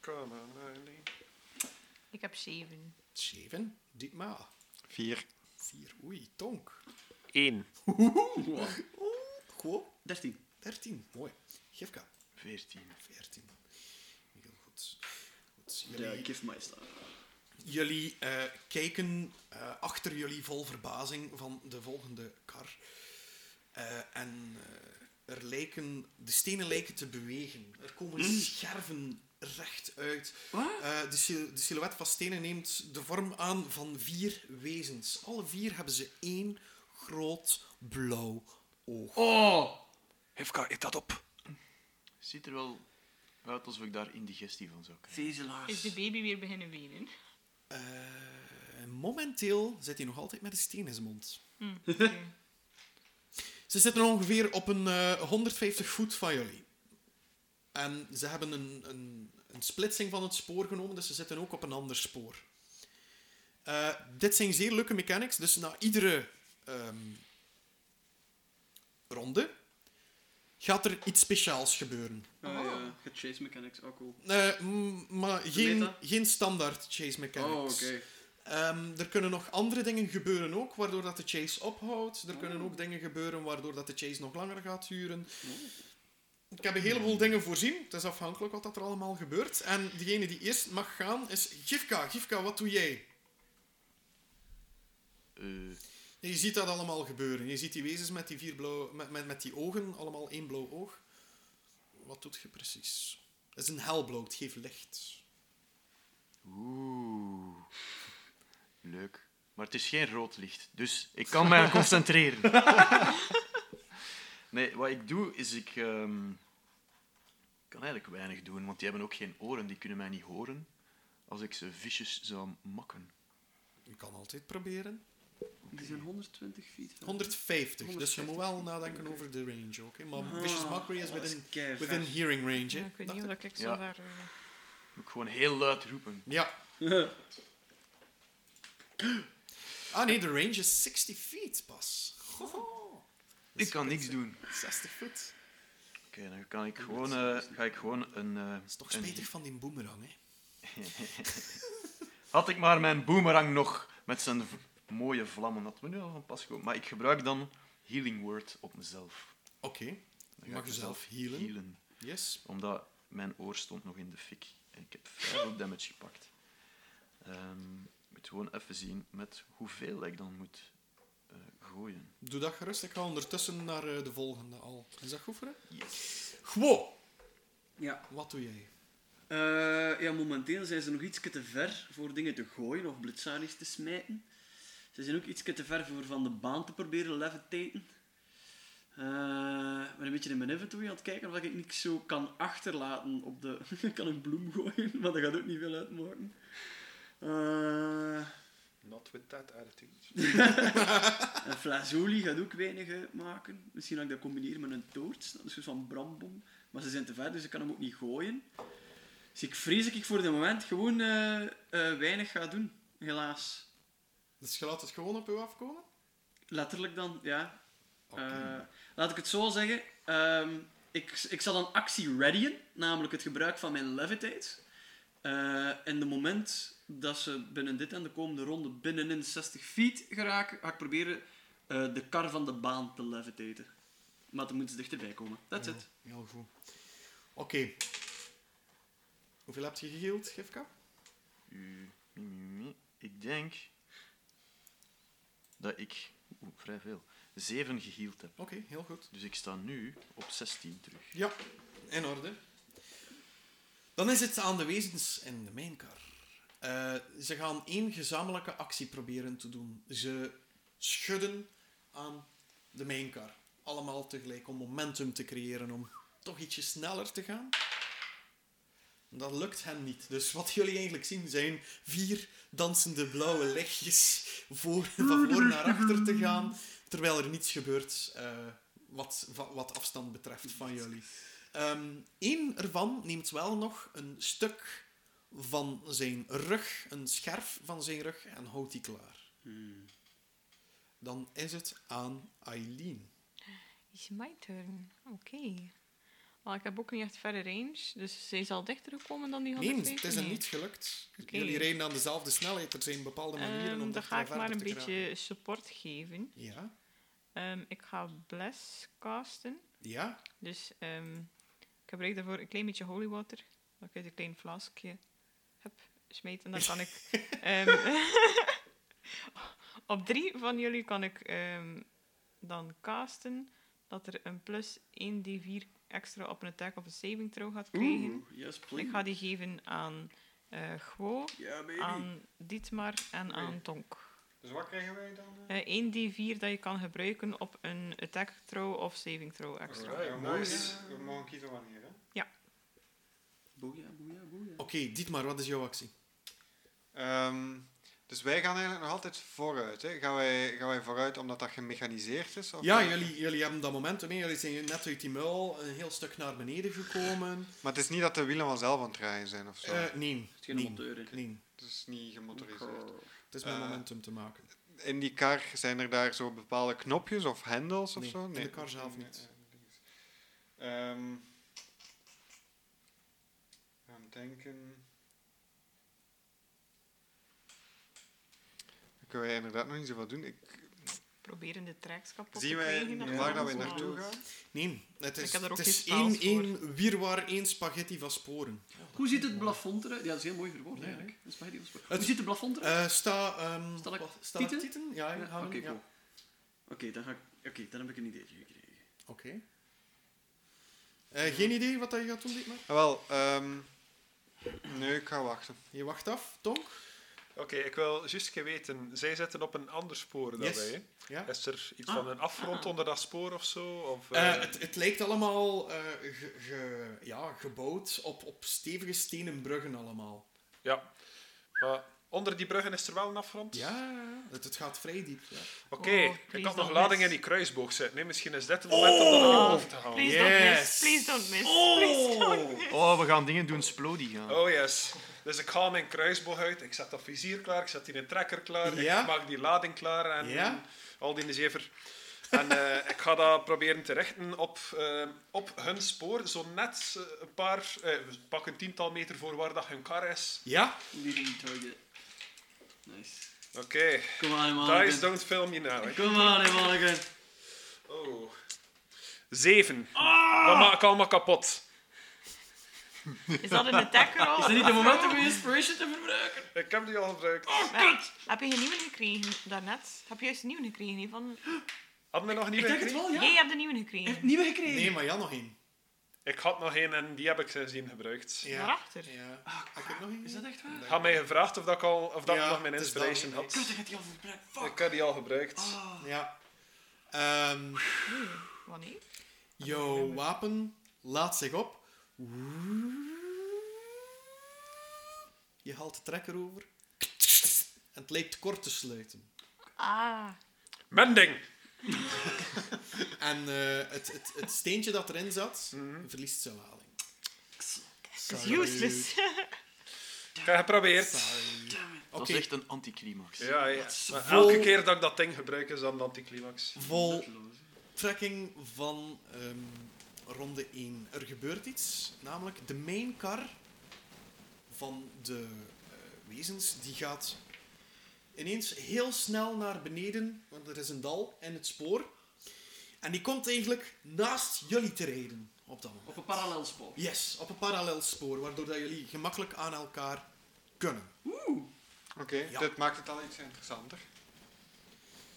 [SPEAKER 1] Come on, Eileen.
[SPEAKER 5] Ik heb 7.
[SPEAKER 4] 7, Dietmar.
[SPEAKER 3] Vier.
[SPEAKER 4] 4, oei, Tonk.
[SPEAKER 1] Eén.
[SPEAKER 2] Wow.
[SPEAKER 4] Quo,
[SPEAKER 2] 13.
[SPEAKER 4] 13, mooi. Gifka,
[SPEAKER 6] 14.
[SPEAKER 4] 14. Heel goed. goed.
[SPEAKER 2] Ja,
[SPEAKER 4] Jullie,
[SPEAKER 2] ik geef mij staan.
[SPEAKER 4] jullie eh, kijken eh, achter jullie vol verbazing van de volgende kar. Eh, en eh, er lijken, de stenen lijken te bewegen. Er komen scherven recht uit.
[SPEAKER 2] Wat?
[SPEAKER 4] Eh, de, sil- de silhouet van stenen neemt de vorm aan van vier wezens. Alle vier hebben ze één groot blauw oog.
[SPEAKER 2] Oh!
[SPEAKER 1] Hifka, eet dat op.
[SPEAKER 6] Ziet er wel uit alsof ik daar indigestie van zou krijgen.
[SPEAKER 5] Is
[SPEAKER 2] Vezelaars.
[SPEAKER 5] de baby weer beginnen wenen?
[SPEAKER 4] Eh, momenteel zit hij nog altijd met een steen in zijn mond.
[SPEAKER 5] Hm, oké.
[SPEAKER 4] Ze zitten ongeveer op een eh, 150 voet van jullie. En ze hebben een, een, een splitsing van het spoor genomen, dus ze zitten ook op een ander spoor. Eh, dit zijn zeer leuke mechanics, dus na iedere ehm, ronde gaat er iets speciaals gebeuren.
[SPEAKER 2] Ah ja, je chase mechanics, ook cool.
[SPEAKER 4] Eh, mm, maar geen,
[SPEAKER 2] meta?
[SPEAKER 4] geen standaard chase mechanics.
[SPEAKER 2] Oh, oké.
[SPEAKER 4] Ehm, er kunnen nog andere dingen gebeuren ook, waardoor dat de chase ophoudt. Er kunnen ook dingen gebeuren waardoor dat de chase nog langer gaat duren. Ik heb een heleboel dingen voorzien. Het is afhankelijk wat dat er allemaal gebeurt. En degene die eerst mag gaan is Gifka. Gifka, wat doe jij?
[SPEAKER 6] Eh,
[SPEAKER 4] Je ziet dat allemaal gebeuren. Je ziet die wezens met die, vier blauw, met, met, met die ogen, allemaal één blauw oog. Wat doet je precies? Het is een helblauw, het geeft licht.
[SPEAKER 6] Eh, Oeh. Leuk. Maar het is geen rood licht, dus ik kan mij concentreren. Nee, wat ik doe is ik ehm, kan eigenlijk weinig doen, want die hebben ook geen oren, die kunnen mij niet horen als ik ze visjes zou makken.
[SPEAKER 4] Je kan altijd proberen.
[SPEAKER 2] Die zijn 120 feet. van.
[SPEAKER 4] 150, dus je moet wel nadenken
[SPEAKER 2] Oké.
[SPEAKER 4] over de range, oké? Maar
[SPEAKER 2] Ah,
[SPEAKER 4] Vicious Mockery is
[SPEAKER 2] dat
[SPEAKER 4] within,
[SPEAKER 2] keivers.
[SPEAKER 4] within hearing range,
[SPEAKER 5] Ja,
[SPEAKER 4] hè?
[SPEAKER 5] ik weet
[SPEAKER 4] Dacht
[SPEAKER 5] niet
[SPEAKER 4] ik.
[SPEAKER 5] of ik zo
[SPEAKER 6] Ja.
[SPEAKER 5] daar... eh,
[SPEAKER 6] Moet ik gewoon heel luid roepen.
[SPEAKER 4] Ja. Ah nee, de range is 60 feet pas. Goh.
[SPEAKER 6] Ik kan niks doen.
[SPEAKER 4] 60 voet.
[SPEAKER 6] Oké, dan kan ik gewoon, eh, ga ik gewoon een... eh,
[SPEAKER 4] Dat is toch
[SPEAKER 6] een-
[SPEAKER 4] spijtig van die boemerang, hè?
[SPEAKER 6] Had ik maar mijn boomerang nog met zijn v- mooie vlammen, had me nu al van pas gekomen. Maar ik gebruik dan Healing Word op mezelf.
[SPEAKER 4] Oké,
[SPEAKER 6] Dan
[SPEAKER 4] je
[SPEAKER 6] ga
[SPEAKER 4] mag
[SPEAKER 6] ik
[SPEAKER 4] jezelf
[SPEAKER 6] mezelf
[SPEAKER 4] healen. Yes.
[SPEAKER 6] Omdat mijn oor stond nog in de fik. En ik heb veel damage gepakt. Ehm, ik moet gewoon even zien met hoeveel ik dan moet eh, gooien.
[SPEAKER 4] Doe dat gerust. Ik ga ondertussen naar eh, de volgende al. Is dat goed voor je?
[SPEAKER 6] Yes.
[SPEAKER 4] Gwo,
[SPEAKER 2] Ja.
[SPEAKER 4] wat doe jij?
[SPEAKER 2] Eh, ja, momenteel zijn ze nog iets te ver voor dingen te gooien of blitsalies te smijten. Ze zijn ook iets te ver voor van de baan te proberen levitaten. Eh, ik ben een beetje in mijn inventory aan het kijken of ik niks zo kan achterlaten op de... ik kan een bloem gooien, maar dat gaat ook niet veel uitmaken. Eh,
[SPEAKER 1] Not with that attitude.
[SPEAKER 2] een flazolie gaat ook weinig uitmaken. Misschien kan ik dat combineren met een toorts. Dat is een soort van brandbom. Maar ze zijn te ver, dus ik kan hem ook niet gooien. Dus ik vrees dat ik voor dit moment gewoon eh, eh, weinig ga doen. Helaas.
[SPEAKER 4] Dus je laat het gewoon op jou afkomen?
[SPEAKER 2] Letterlijk dan, ja.
[SPEAKER 4] Oké.
[SPEAKER 2] Eh, laat ik het zo zeggen. Ehm, ik, ik zal een actie readyen, namelijk het gebruik van mijn levitate. Eh, en de moment dat ze binnen dit en de komende ronde binnenin 60 feet geraken, ga ik proberen eh, de kar van de baan te levitaten. Maar dan moeten ze dichterbij komen. That's it.
[SPEAKER 4] Heel goed. Oké. Hoeveel heb je geheeld, Gifka?
[SPEAKER 6] U- mi- mi- mi. Ik denk dat ik oeh, vrij veel. 7 geheeld heb.
[SPEAKER 4] Oké, heel goed.
[SPEAKER 6] Dus ik sta nu op 16 terug.
[SPEAKER 4] Ja, in orde. Dan is het aan de wezens in de mijnkar. Eh, ze gaan één gezamenlijke actie proberen te doen. Ze schudden aan de mijnkar. Allemaal tegelijk om momentum te creëren, om toch ietsje sneller te gaan. Dat lukt hen niet. Dus wat jullie eigenlijk zien zijn vier dansende blauwe lichtjes voor, van voor naar achter te gaan, terwijl er niets gebeurt eh, wat, va- wat afstand betreft van jullie. Eén ervan neemt wel nog een stuk van zijn rug, een scherf van zijn rug, en houdt die klaar. Dan is het aan Eileen.
[SPEAKER 5] It's my turn. Oké. Maar ik heb ook niet echt verre range, dus zij is al dichter gekomen dan die
[SPEAKER 4] Nee,
[SPEAKER 5] 150.
[SPEAKER 4] het is hem niet gelukt.
[SPEAKER 5] Oké.
[SPEAKER 4] Jullie rijden aan dezelfde snelheid. Er zijn bepaalde manieren om
[SPEAKER 5] Ehm, dan
[SPEAKER 4] dat
[SPEAKER 5] ga ik maar
[SPEAKER 4] verder
[SPEAKER 5] een
[SPEAKER 4] te geraken.
[SPEAKER 5] beetje support geven.
[SPEAKER 4] Ja,
[SPEAKER 5] Ehm, ik ga Bless casten.
[SPEAKER 4] ja,
[SPEAKER 5] Dus ehm, ik gebruik daarvoor een klein beetje holy water. Dat ik uit een klein vlaskje heb smeten. Dan kan ik... ehm, op drie van jullie kan ik ehm, dan casten dat er een plus 1d4 extra op een attack of een saving throw gaat krijgen.
[SPEAKER 2] Oeh, yes
[SPEAKER 5] Ik
[SPEAKER 2] please.
[SPEAKER 5] ga die geven aan eh Gwo,
[SPEAKER 2] Ja, baby.
[SPEAKER 5] aan Dietmar en aan Tonk.
[SPEAKER 3] Dus wat krijgen wij dan? eh?
[SPEAKER 5] Eh, 1d4 dat je kan gebruiken op een attack throw of saving throw extra.
[SPEAKER 3] Alright, we
[SPEAKER 1] nice.
[SPEAKER 3] mogen- We mogen kiezen wanneer, hè?
[SPEAKER 2] Boeia, boeia, boeia.
[SPEAKER 4] Oké, Dietmar, wat is jouw actie?
[SPEAKER 3] Ehm, dus wij gaan eigenlijk nog altijd vooruit. Hè? Gaan, wij, gaan wij vooruit omdat dat gemechaniseerd is? Of
[SPEAKER 4] Ja,
[SPEAKER 3] eh,
[SPEAKER 4] jullie, jullie hebben dat momentum. hè. Jullie zijn net uit die muil een heel stuk naar beneden gekomen.
[SPEAKER 3] Maar het is niet dat de wielen vanzelf aan het draaien zijn of zo.
[SPEAKER 4] Eh nee,
[SPEAKER 2] is geen
[SPEAKER 4] nee,
[SPEAKER 2] monteur, hè. Oh.
[SPEAKER 4] nee.
[SPEAKER 3] het is niet gemotoriseerd.
[SPEAKER 4] Het is met
[SPEAKER 3] Eh,
[SPEAKER 4] momentum te maken.
[SPEAKER 3] In die kar zijn er daar zo bepaalde knopjes of hendels of
[SPEAKER 4] Nee,
[SPEAKER 3] zo? eh,
[SPEAKER 4] in de kar zelf niet.
[SPEAKER 3] Ehm, aan het denken. Dan kunnen wij inderdaad nog niet zoveel doen. Ik,
[SPEAKER 5] Proberen de tracks kapot
[SPEAKER 3] zien
[SPEAKER 5] te
[SPEAKER 3] wij
[SPEAKER 5] krijgen. dat
[SPEAKER 3] waar
[SPEAKER 5] kan
[SPEAKER 3] dat we
[SPEAKER 5] wel.
[SPEAKER 3] naartoe gaan?
[SPEAKER 4] Nee, het is,
[SPEAKER 5] Ik heb daar ook
[SPEAKER 4] het is
[SPEAKER 5] geen spaals
[SPEAKER 4] één, één wierwaar, één spaghetti van sporen.
[SPEAKER 2] Hoe ziet het plafond eruit? Ja, dat is heel mooi verwoord
[SPEAKER 4] Ja,
[SPEAKER 2] eigenlijk. Dat is bij die afspraak.
[SPEAKER 4] Het-
[SPEAKER 2] Hoe ziet het plafond eruit?
[SPEAKER 4] Eh sta, ehm
[SPEAKER 2] Stel ik
[SPEAKER 4] wat-
[SPEAKER 2] tieten?
[SPEAKER 4] tieten? Ja,
[SPEAKER 2] Ja,
[SPEAKER 4] gaan we-
[SPEAKER 2] Oké,
[SPEAKER 4] ja.
[SPEAKER 2] cool. Oké, dan, ga ik- oké, dan heb ik een ideetje gekregen.
[SPEAKER 4] Oké. Eh, geen idee wat dat je gaat doen, Dietmar?
[SPEAKER 3] Ah, wel, ehm, nee, ik ga wachten.
[SPEAKER 4] Je wacht af, Tonk.
[SPEAKER 1] Oké, ik wil juist een keer weten. Zij zitten op een ander spoor dan
[SPEAKER 4] Yes.
[SPEAKER 1] wij. hè?
[SPEAKER 4] Ja.
[SPEAKER 1] Is er iets
[SPEAKER 2] Ah.
[SPEAKER 1] van een afgrond onder dat spoor of zo? Of,
[SPEAKER 4] Eh,
[SPEAKER 1] eh,
[SPEAKER 4] het, het lijkt allemaal eh, ge- ge- ja, gebouwd op, op stevige stenen bruggen allemaal.
[SPEAKER 1] Ja. Maar onder die bruggen is er wel een afgrond?
[SPEAKER 4] Ja, het, het gaat vrij diep. Ja.
[SPEAKER 1] Oké,
[SPEAKER 5] Oh,
[SPEAKER 1] ik
[SPEAKER 5] please
[SPEAKER 1] had nog
[SPEAKER 5] don't
[SPEAKER 1] lading
[SPEAKER 5] miss.
[SPEAKER 1] in die kruisboog zitten. hè. Misschien is
[SPEAKER 4] Oh.
[SPEAKER 1] dit het moment om dat naar boven te gaan.
[SPEAKER 5] Please don't
[SPEAKER 4] Yes.
[SPEAKER 5] miss. Please don't miss. Please don't miss.
[SPEAKER 6] Oh, we gaan dingen doen, Splody gaan.
[SPEAKER 1] Oh yes. Dus ik haal mijn kruisboog uit, ik zet dat vizier klaar, ik zet die trekker klaar,
[SPEAKER 4] Ja.
[SPEAKER 1] ik maak die lading klaar en
[SPEAKER 4] Ja.
[SPEAKER 1] al die zever. En eh, ik ga dat proberen te richten op, eh, op hun spoor. Zo net eh, een paar, eh, pak een tiental meter voor waar dat hun kar is.
[SPEAKER 4] Ja?
[SPEAKER 2] Leading target. Nice.
[SPEAKER 1] Oké,
[SPEAKER 2] Come on,
[SPEAKER 1] guys,
[SPEAKER 2] Mulligan.
[SPEAKER 1] don't film me now. hè.
[SPEAKER 2] Come on, Mulligan.
[SPEAKER 1] Oh. Ah! Zeven. Dat maak ik allemaal kapot.
[SPEAKER 5] Is dat een attack roll?
[SPEAKER 2] Is dit niet het moment
[SPEAKER 5] Oh,
[SPEAKER 2] om je inspiration te verbruiken?
[SPEAKER 1] Ik heb die al gebruikt.
[SPEAKER 5] Maar, heb je een nieuwe gekregen daarnet? Heb je juist een nieuwe gekregen? hè, Van...
[SPEAKER 1] Had mij nog niet
[SPEAKER 2] Ik denk het
[SPEAKER 1] gekregen?
[SPEAKER 2] wel, ja.
[SPEAKER 5] Jij
[SPEAKER 2] Je
[SPEAKER 5] hebt een nieuwe
[SPEAKER 2] hebt
[SPEAKER 5] gekregen.
[SPEAKER 2] nieuwe gekregen.
[SPEAKER 4] Nee, maar ja, nog één.
[SPEAKER 1] Ik had nog één en die heb ik sindsdien gebruikt.
[SPEAKER 4] Ja.
[SPEAKER 5] Daarachter.
[SPEAKER 4] Ja. Heb ik nog één?
[SPEAKER 2] Ah, Is dat echt waar?
[SPEAKER 1] Had mij gevraagd of dat ik, al, of dat
[SPEAKER 4] Ja,
[SPEAKER 1] ik nog mijn
[SPEAKER 4] het is dat.
[SPEAKER 1] inspiration had.
[SPEAKER 2] Kut, ik heb die al verbruikt. Fuck. Ah.
[SPEAKER 1] Ik heb die al gebruikt.
[SPEAKER 4] Ja. Ehm,
[SPEAKER 5] Wanneer?
[SPEAKER 4] jouw wapen laat zich op. Je haalt de trekker over. En het lijkt kort te sluiten.
[SPEAKER 5] Ah.
[SPEAKER 1] Mending!
[SPEAKER 4] En eh, het, het, het steentje dat erin zat, verliest zijn lading.
[SPEAKER 5] Het is useless. Oh
[SPEAKER 1] Ik heb geprobeerd.
[SPEAKER 4] Sorry.
[SPEAKER 6] Dat
[SPEAKER 4] Oké,
[SPEAKER 6] is echt een anticlimax.
[SPEAKER 1] Ja, ja. Maar
[SPEAKER 4] vol-
[SPEAKER 1] elke keer dat ik dat ding gebruik is dat een anticlimax.
[SPEAKER 4] vol trekking van ehm, ronde 1. Er gebeurt iets, namelijk de main car van de eh, wezens, die gaat ineens heel snel naar beneden, want er is een dal in het spoor. En die komt eigenlijk naast jullie te rijden op dat moment.
[SPEAKER 2] Op een parallel spoor.
[SPEAKER 4] Yes, op een parallel spoor, waardoor dat jullie gemakkelijk aan elkaar kunnen.
[SPEAKER 3] Oké,
[SPEAKER 4] Ja.
[SPEAKER 3] dit maakt het al iets interessanter.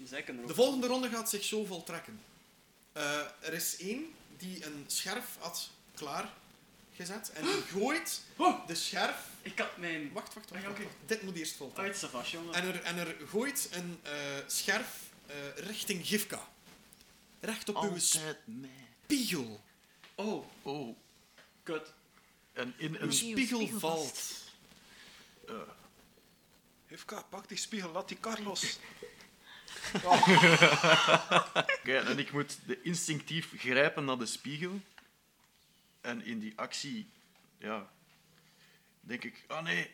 [SPEAKER 2] Zij kunnen
[SPEAKER 4] De volgende ronde gaat zich zo voltrekken. Eh, er is één die een scherf had klaargezet en die gooit
[SPEAKER 2] Oh,
[SPEAKER 4] de scherf.
[SPEAKER 2] ik had mijn
[SPEAKER 4] Wacht, wacht,
[SPEAKER 2] Ah,
[SPEAKER 4] wacht.
[SPEAKER 2] ja,
[SPEAKER 4] wacht,
[SPEAKER 2] oké.
[SPEAKER 4] wacht. Dit moet eerst voltrekken.
[SPEAKER 2] uit Savas, jongen.
[SPEAKER 4] En er, en er gooit een eh, scherf eh, richting Gifka. Recht op uw
[SPEAKER 6] Altijd mij.
[SPEAKER 4] spiegel.
[SPEAKER 2] Oh,
[SPEAKER 6] Oh,
[SPEAKER 2] kut.
[SPEAKER 6] en in
[SPEAKER 4] Uw
[SPEAKER 6] een...
[SPEAKER 4] spiegel
[SPEAKER 5] spiegel
[SPEAKER 4] valt.
[SPEAKER 6] eh,
[SPEAKER 1] Hifka, pak die spiegel, laat die kar los.
[SPEAKER 6] Oké, en ik moet de instinctief grijpen naar de spiegel. En in die actie, ja, denk ik, ah nee.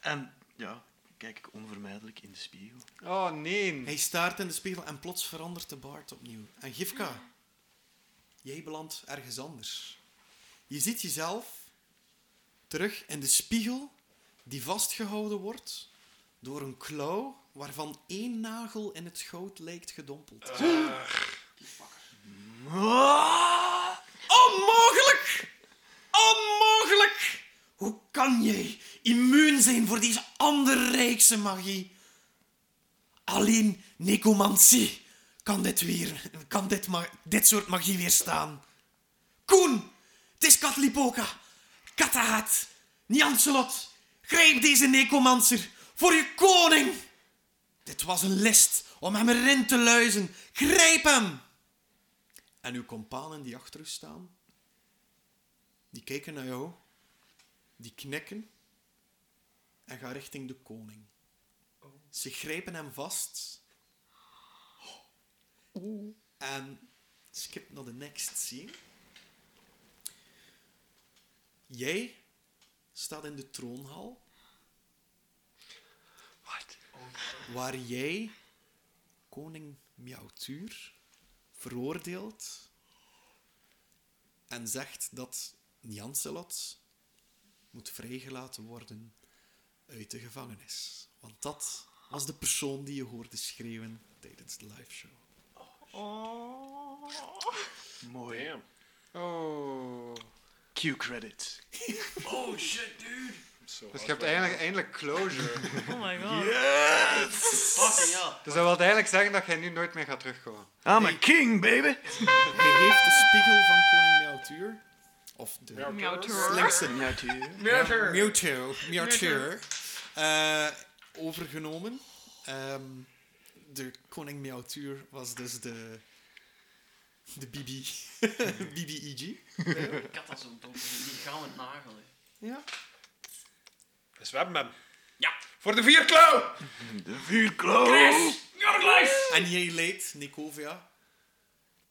[SPEAKER 6] En ja, kijk ik onvermijdelijk in de spiegel.
[SPEAKER 3] Oh nee.
[SPEAKER 4] Hij staart in de spiegel en plots verandert de baard opnieuw. En Gifka, jij belandt ergens anders. Je ziet jezelf terug in de spiegel die vastgehouden wordt door een klauw waarvan één nagel in het goud lijkt gedompeld. Ah, Onmogelijk! Onmogelijk! Hoe kan jij immuun zijn voor deze anderrijkse magie? Alleen necromantie kan dit weer, kan dit, ma- dit soort magie weerstaan. Koen, het is Katlipoka, Katahat, Niancelot, grijp deze necromancer voor je koning. Dit was een list om hem erin te luizen. Grijp hem! En uw kompanen die achter u staan, die kijken naar jou, die knikken en gaan richting de koning. Ze grijpen hem vast. En skip naar de next scene. Jij staat in de troonhal. Waar jij koning Miautuur veroordeelt en zegt dat Nyanselot moet vrijgelaten worden uit de gevangenis. Want dat was de persoon die je hoorde schreeuwen tijdens de liveshow.
[SPEAKER 5] Oh.
[SPEAKER 6] Mooi.
[SPEAKER 1] Damn.
[SPEAKER 3] Oh.
[SPEAKER 6] Cue credit.
[SPEAKER 2] Oh, shit, dude.
[SPEAKER 1] Zo
[SPEAKER 3] Dus
[SPEAKER 1] hard
[SPEAKER 3] je hebt
[SPEAKER 1] werken.
[SPEAKER 3] eindelijk, eindelijk closure.
[SPEAKER 5] Oh my god.
[SPEAKER 2] Fucking ja.
[SPEAKER 3] dus dat wil eigenlijk zeggen dat jij nu nooit meer gaat terugkomen.
[SPEAKER 6] I'm a Ah, king, baby!
[SPEAKER 4] Hij heeft de spiegel van koning Miautuur. Of de
[SPEAKER 5] Miauw tour.
[SPEAKER 4] slimste.
[SPEAKER 6] Ja, tuurlijk.
[SPEAKER 2] Murder.
[SPEAKER 4] Mewtwo. Mewtwo. Eh, overgenomen. Ehm, de koning Mewtwo was dus de... De BB. BB-EG.
[SPEAKER 2] Ik had dat zo dom. Die gaan we nagelen.
[SPEAKER 4] Ja.
[SPEAKER 1] Dus we hebben hem.
[SPEAKER 2] Ja.
[SPEAKER 1] Voor de vierklauw!
[SPEAKER 6] De vuurkloof!
[SPEAKER 2] Jorglijs!
[SPEAKER 4] En jij leidt Nikovia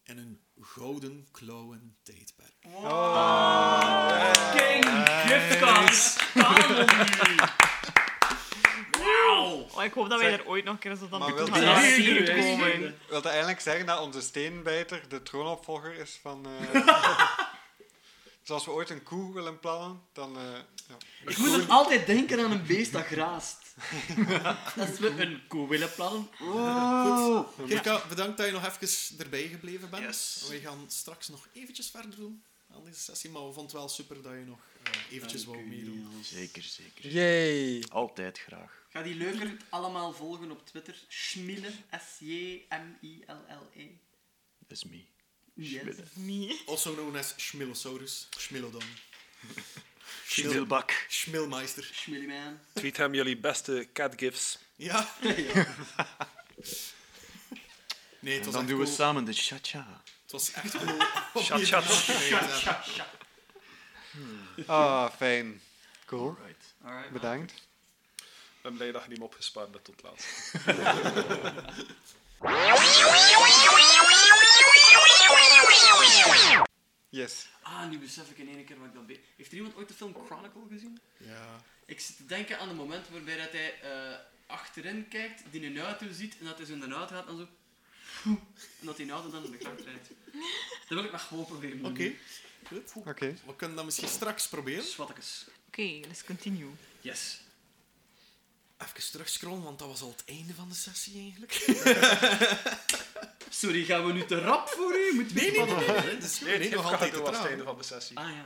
[SPEAKER 4] in een gouden klauwen tijdperk.
[SPEAKER 2] King Gifka. Wauw.
[SPEAKER 5] Maar Oh, ik hoop dat wij
[SPEAKER 3] Zeg,
[SPEAKER 5] er ooit nog een keer zo van
[SPEAKER 3] maar
[SPEAKER 5] toe
[SPEAKER 3] wil
[SPEAKER 5] gaan
[SPEAKER 3] je-
[SPEAKER 5] laten
[SPEAKER 7] Ja,
[SPEAKER 5] zien
[SPEAKER 7] ja, ja.
[SPEAKER 5] komen.
[SPEAKER 3] Wil dat eigenlijk zeggen dat onze steenbijter de troonopvolger is van... eh dus als we ooit een koe willen plannen, dan... eh, ja.
[SPEAKER 2] Ik moet dan altijd denken aan een beest dat graast. dat we een koe willen plannen. Oh. Wow.
[SPEAKER 4] Kirka, bedankt dat je nog even erbij gebleven bent.
[SPEAKER 2] Yes.
[SPEAKER 4] We gaan straks nog eventjes verder doen aan deze sessie, maar we vonden het wel super dat je nog eh, eventjes wou meedoen.
[SPEAKER 6] Zeker, zeker.
[SPEAKER 3] Yay!
[SPEAKER 6] Altijd graag.
[SPEAKER 2] Ga die leuker allemaal volgen op Twitter. Schmille, S-J-M-I-L-L-E.
[SPEAKER 6] Is me.
[SPEAKER 2] Yes.
[SPEAKER 6] Schmille.
[SPEAKER 5] Niet.
[SPEAKER 4] Also known as Schmillosaurus, Schmilodon,
[SPEAKER 6] Schmilbak.
[SPEAKER 4] Schmilmeister.
[SPEAKER 2] Schmillyman.
[SPEAKER 1] Tweet hem jullie beste catgifs.
[SPEAKER 4] Ja. Nee, het
[SPEAKER 6] En
[SPEAKER 4] was
[SPEAKER 6] dan
[SPEAKER 4] echt
[SPEAKER 6] doen we
[SPEAKER 4] cool.
[SPEAKER 6] samen de cha-cha.
[SPEAKER 4] Het was echt cool. om
[SPEAKER 1] Chat,
[SPEAKER 4] hier
[SPEAKER 1] chat.
[SPEAKER 4] nog gekregen te hebben.
[SPEAKER 3] Ah, fijn. Cool.
[SPEAKER 6] Right.
[SPEAKER 2] Alright.
[SPEAKER 3] Bedankt.
[SPEAKER 1] Ik ben blij dat je hem opgespaard hebt tot laatst.
[SPEAKER 3] Yes.
[SPEAKER 2] Ah, nu besef ik in één keer wat ik dat be- Heeft er iemand ooit de film Chronicle gezien?
[SPEAKER 4] Ja.
[SPEAKER 2] Ik zit te denken aan het moment waarbij dat hij eh, achterin kijkt, die een auto ziet en dat hij zo naar auto gaat en zo. En dat die auto dan in de kracht rijdt. Dat wil ik nog gewoon proberen. te doen.
[SPEAKER 4] Oké, goed.
[SPEAKER 3] Oké.
[SPEAKER 4] We kunnen dat misschien straks proberen.
[SPEAKER 2] Swattekes.
[SPEAKER 5] Oké, let's continue.
[SPEAKER 2] Yes.
[SPEAKER 4] Even terugscrollen, want dat was al het einde van de sessie eigenlijk.
[SPEAKER 2] Sorry, gaan we nu te rap voor u? Moet
[SPEAKER 4] Nee, nee, nee, nee. nee. Dat is goed.
[SPEAKER 1] Nee,
[SPEAKER 4] Nee,
[SPEAKER 1] het
[SPEAKER 4] nog altijd te
[SPEAKER 1] was het
[SPEAKER 4] traag.
[SPEAKER 1] einde van de sessie.
[SPEAKER 2] Ah ja.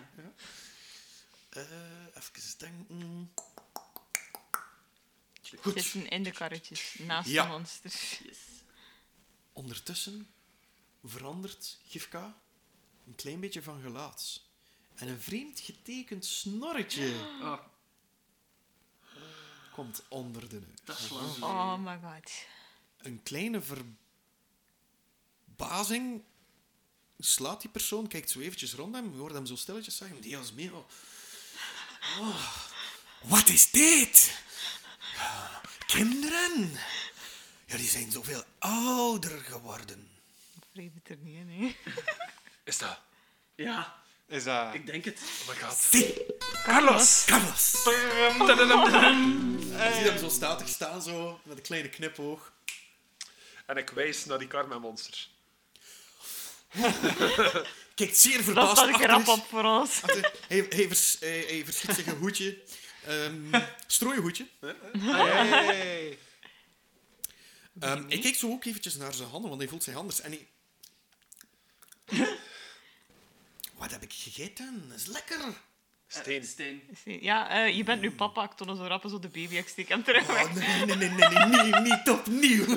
[SPEAKER 4] Eh, even denken.
[SPEAKER 5] Het
[SPEAKER 4] Goed.
[SPEAKER 5] Zitten in de karretjes, naast
[SPEAKER 4] Ja.
[SPEAKER 5] de monsters.
[SPEAKER 2] Yes.
[SPEAKER 4] Ondertussen verandert Gifka een klein beetje van gelaat. En een vreemd getekend snorretje
[SPEAKER 2] Oh,
[SPEAKER 4] komt onder de neus.
[SPEAKER 2] dat is lang.
[SPEAKER 5] Oh my god.
[SPEAKER 4] Een kleine verbazing slaat die persoon, kijkt zo eventjes rond hem, je hoort hem zo stilletjes zeggen, die was mee. Oh. Wat is dit? Kinderen! Jullie zijn zoveel ouder geworden.
[SPEAKER 5] Vreemd het er niet in, hè.
[SPEAKER 1] Is dat?
[SPEAKER 2] Ja,
[SPEAKER 3] Is dat...
[SPEAKER 2] ik denk het.
[SPEAKER 1] Oh my god.
[SPEAKER 4] Zie,
[SPEAKER 1] Carlos!
[SPEAKER 4] Carlos! Ik zie hem zo statig staan, zo, met een kleine knipoog.
[SPEAKER 1] En ik wijs naar die Carmen Monster.
[SPEAKER 4] Kijkt zeer
[SPEAKER 5] Dat
[SPEAKER 4] verbaasd
[SPEAKER 5] staat ik
[SPEAKER 4] achter
[SPEAKER 5] rap
[SPEAKER 4] zich.
[SPEAKER 5] op voor ons.
[SPEAKER 4] Achter- Hij, hij, vers, hij, hij verschiet zich een hoedje. Ehm strooienhoedje.
[SPEAKER 3] Hey.
[SPEAKER 4] Ehm, Ik kijk zo ook eventjes naar zijn handen, want hij voelt zijn handen. En hij... Wat heb ik gegeten? Dat is lekker.
[SPEAKER 1] Steen.
[SPEAKER 2] Eh, Steen.
[SPEAKER 5] Ja, eh, je bent nu papa. Ik toon hem zo rap zo de baby. Ik steek hem terug weg.
[SPEAKER 4] Oh, nee, nee, nee, nee, nee, nee, niet opnieuw. Niet opnieuw.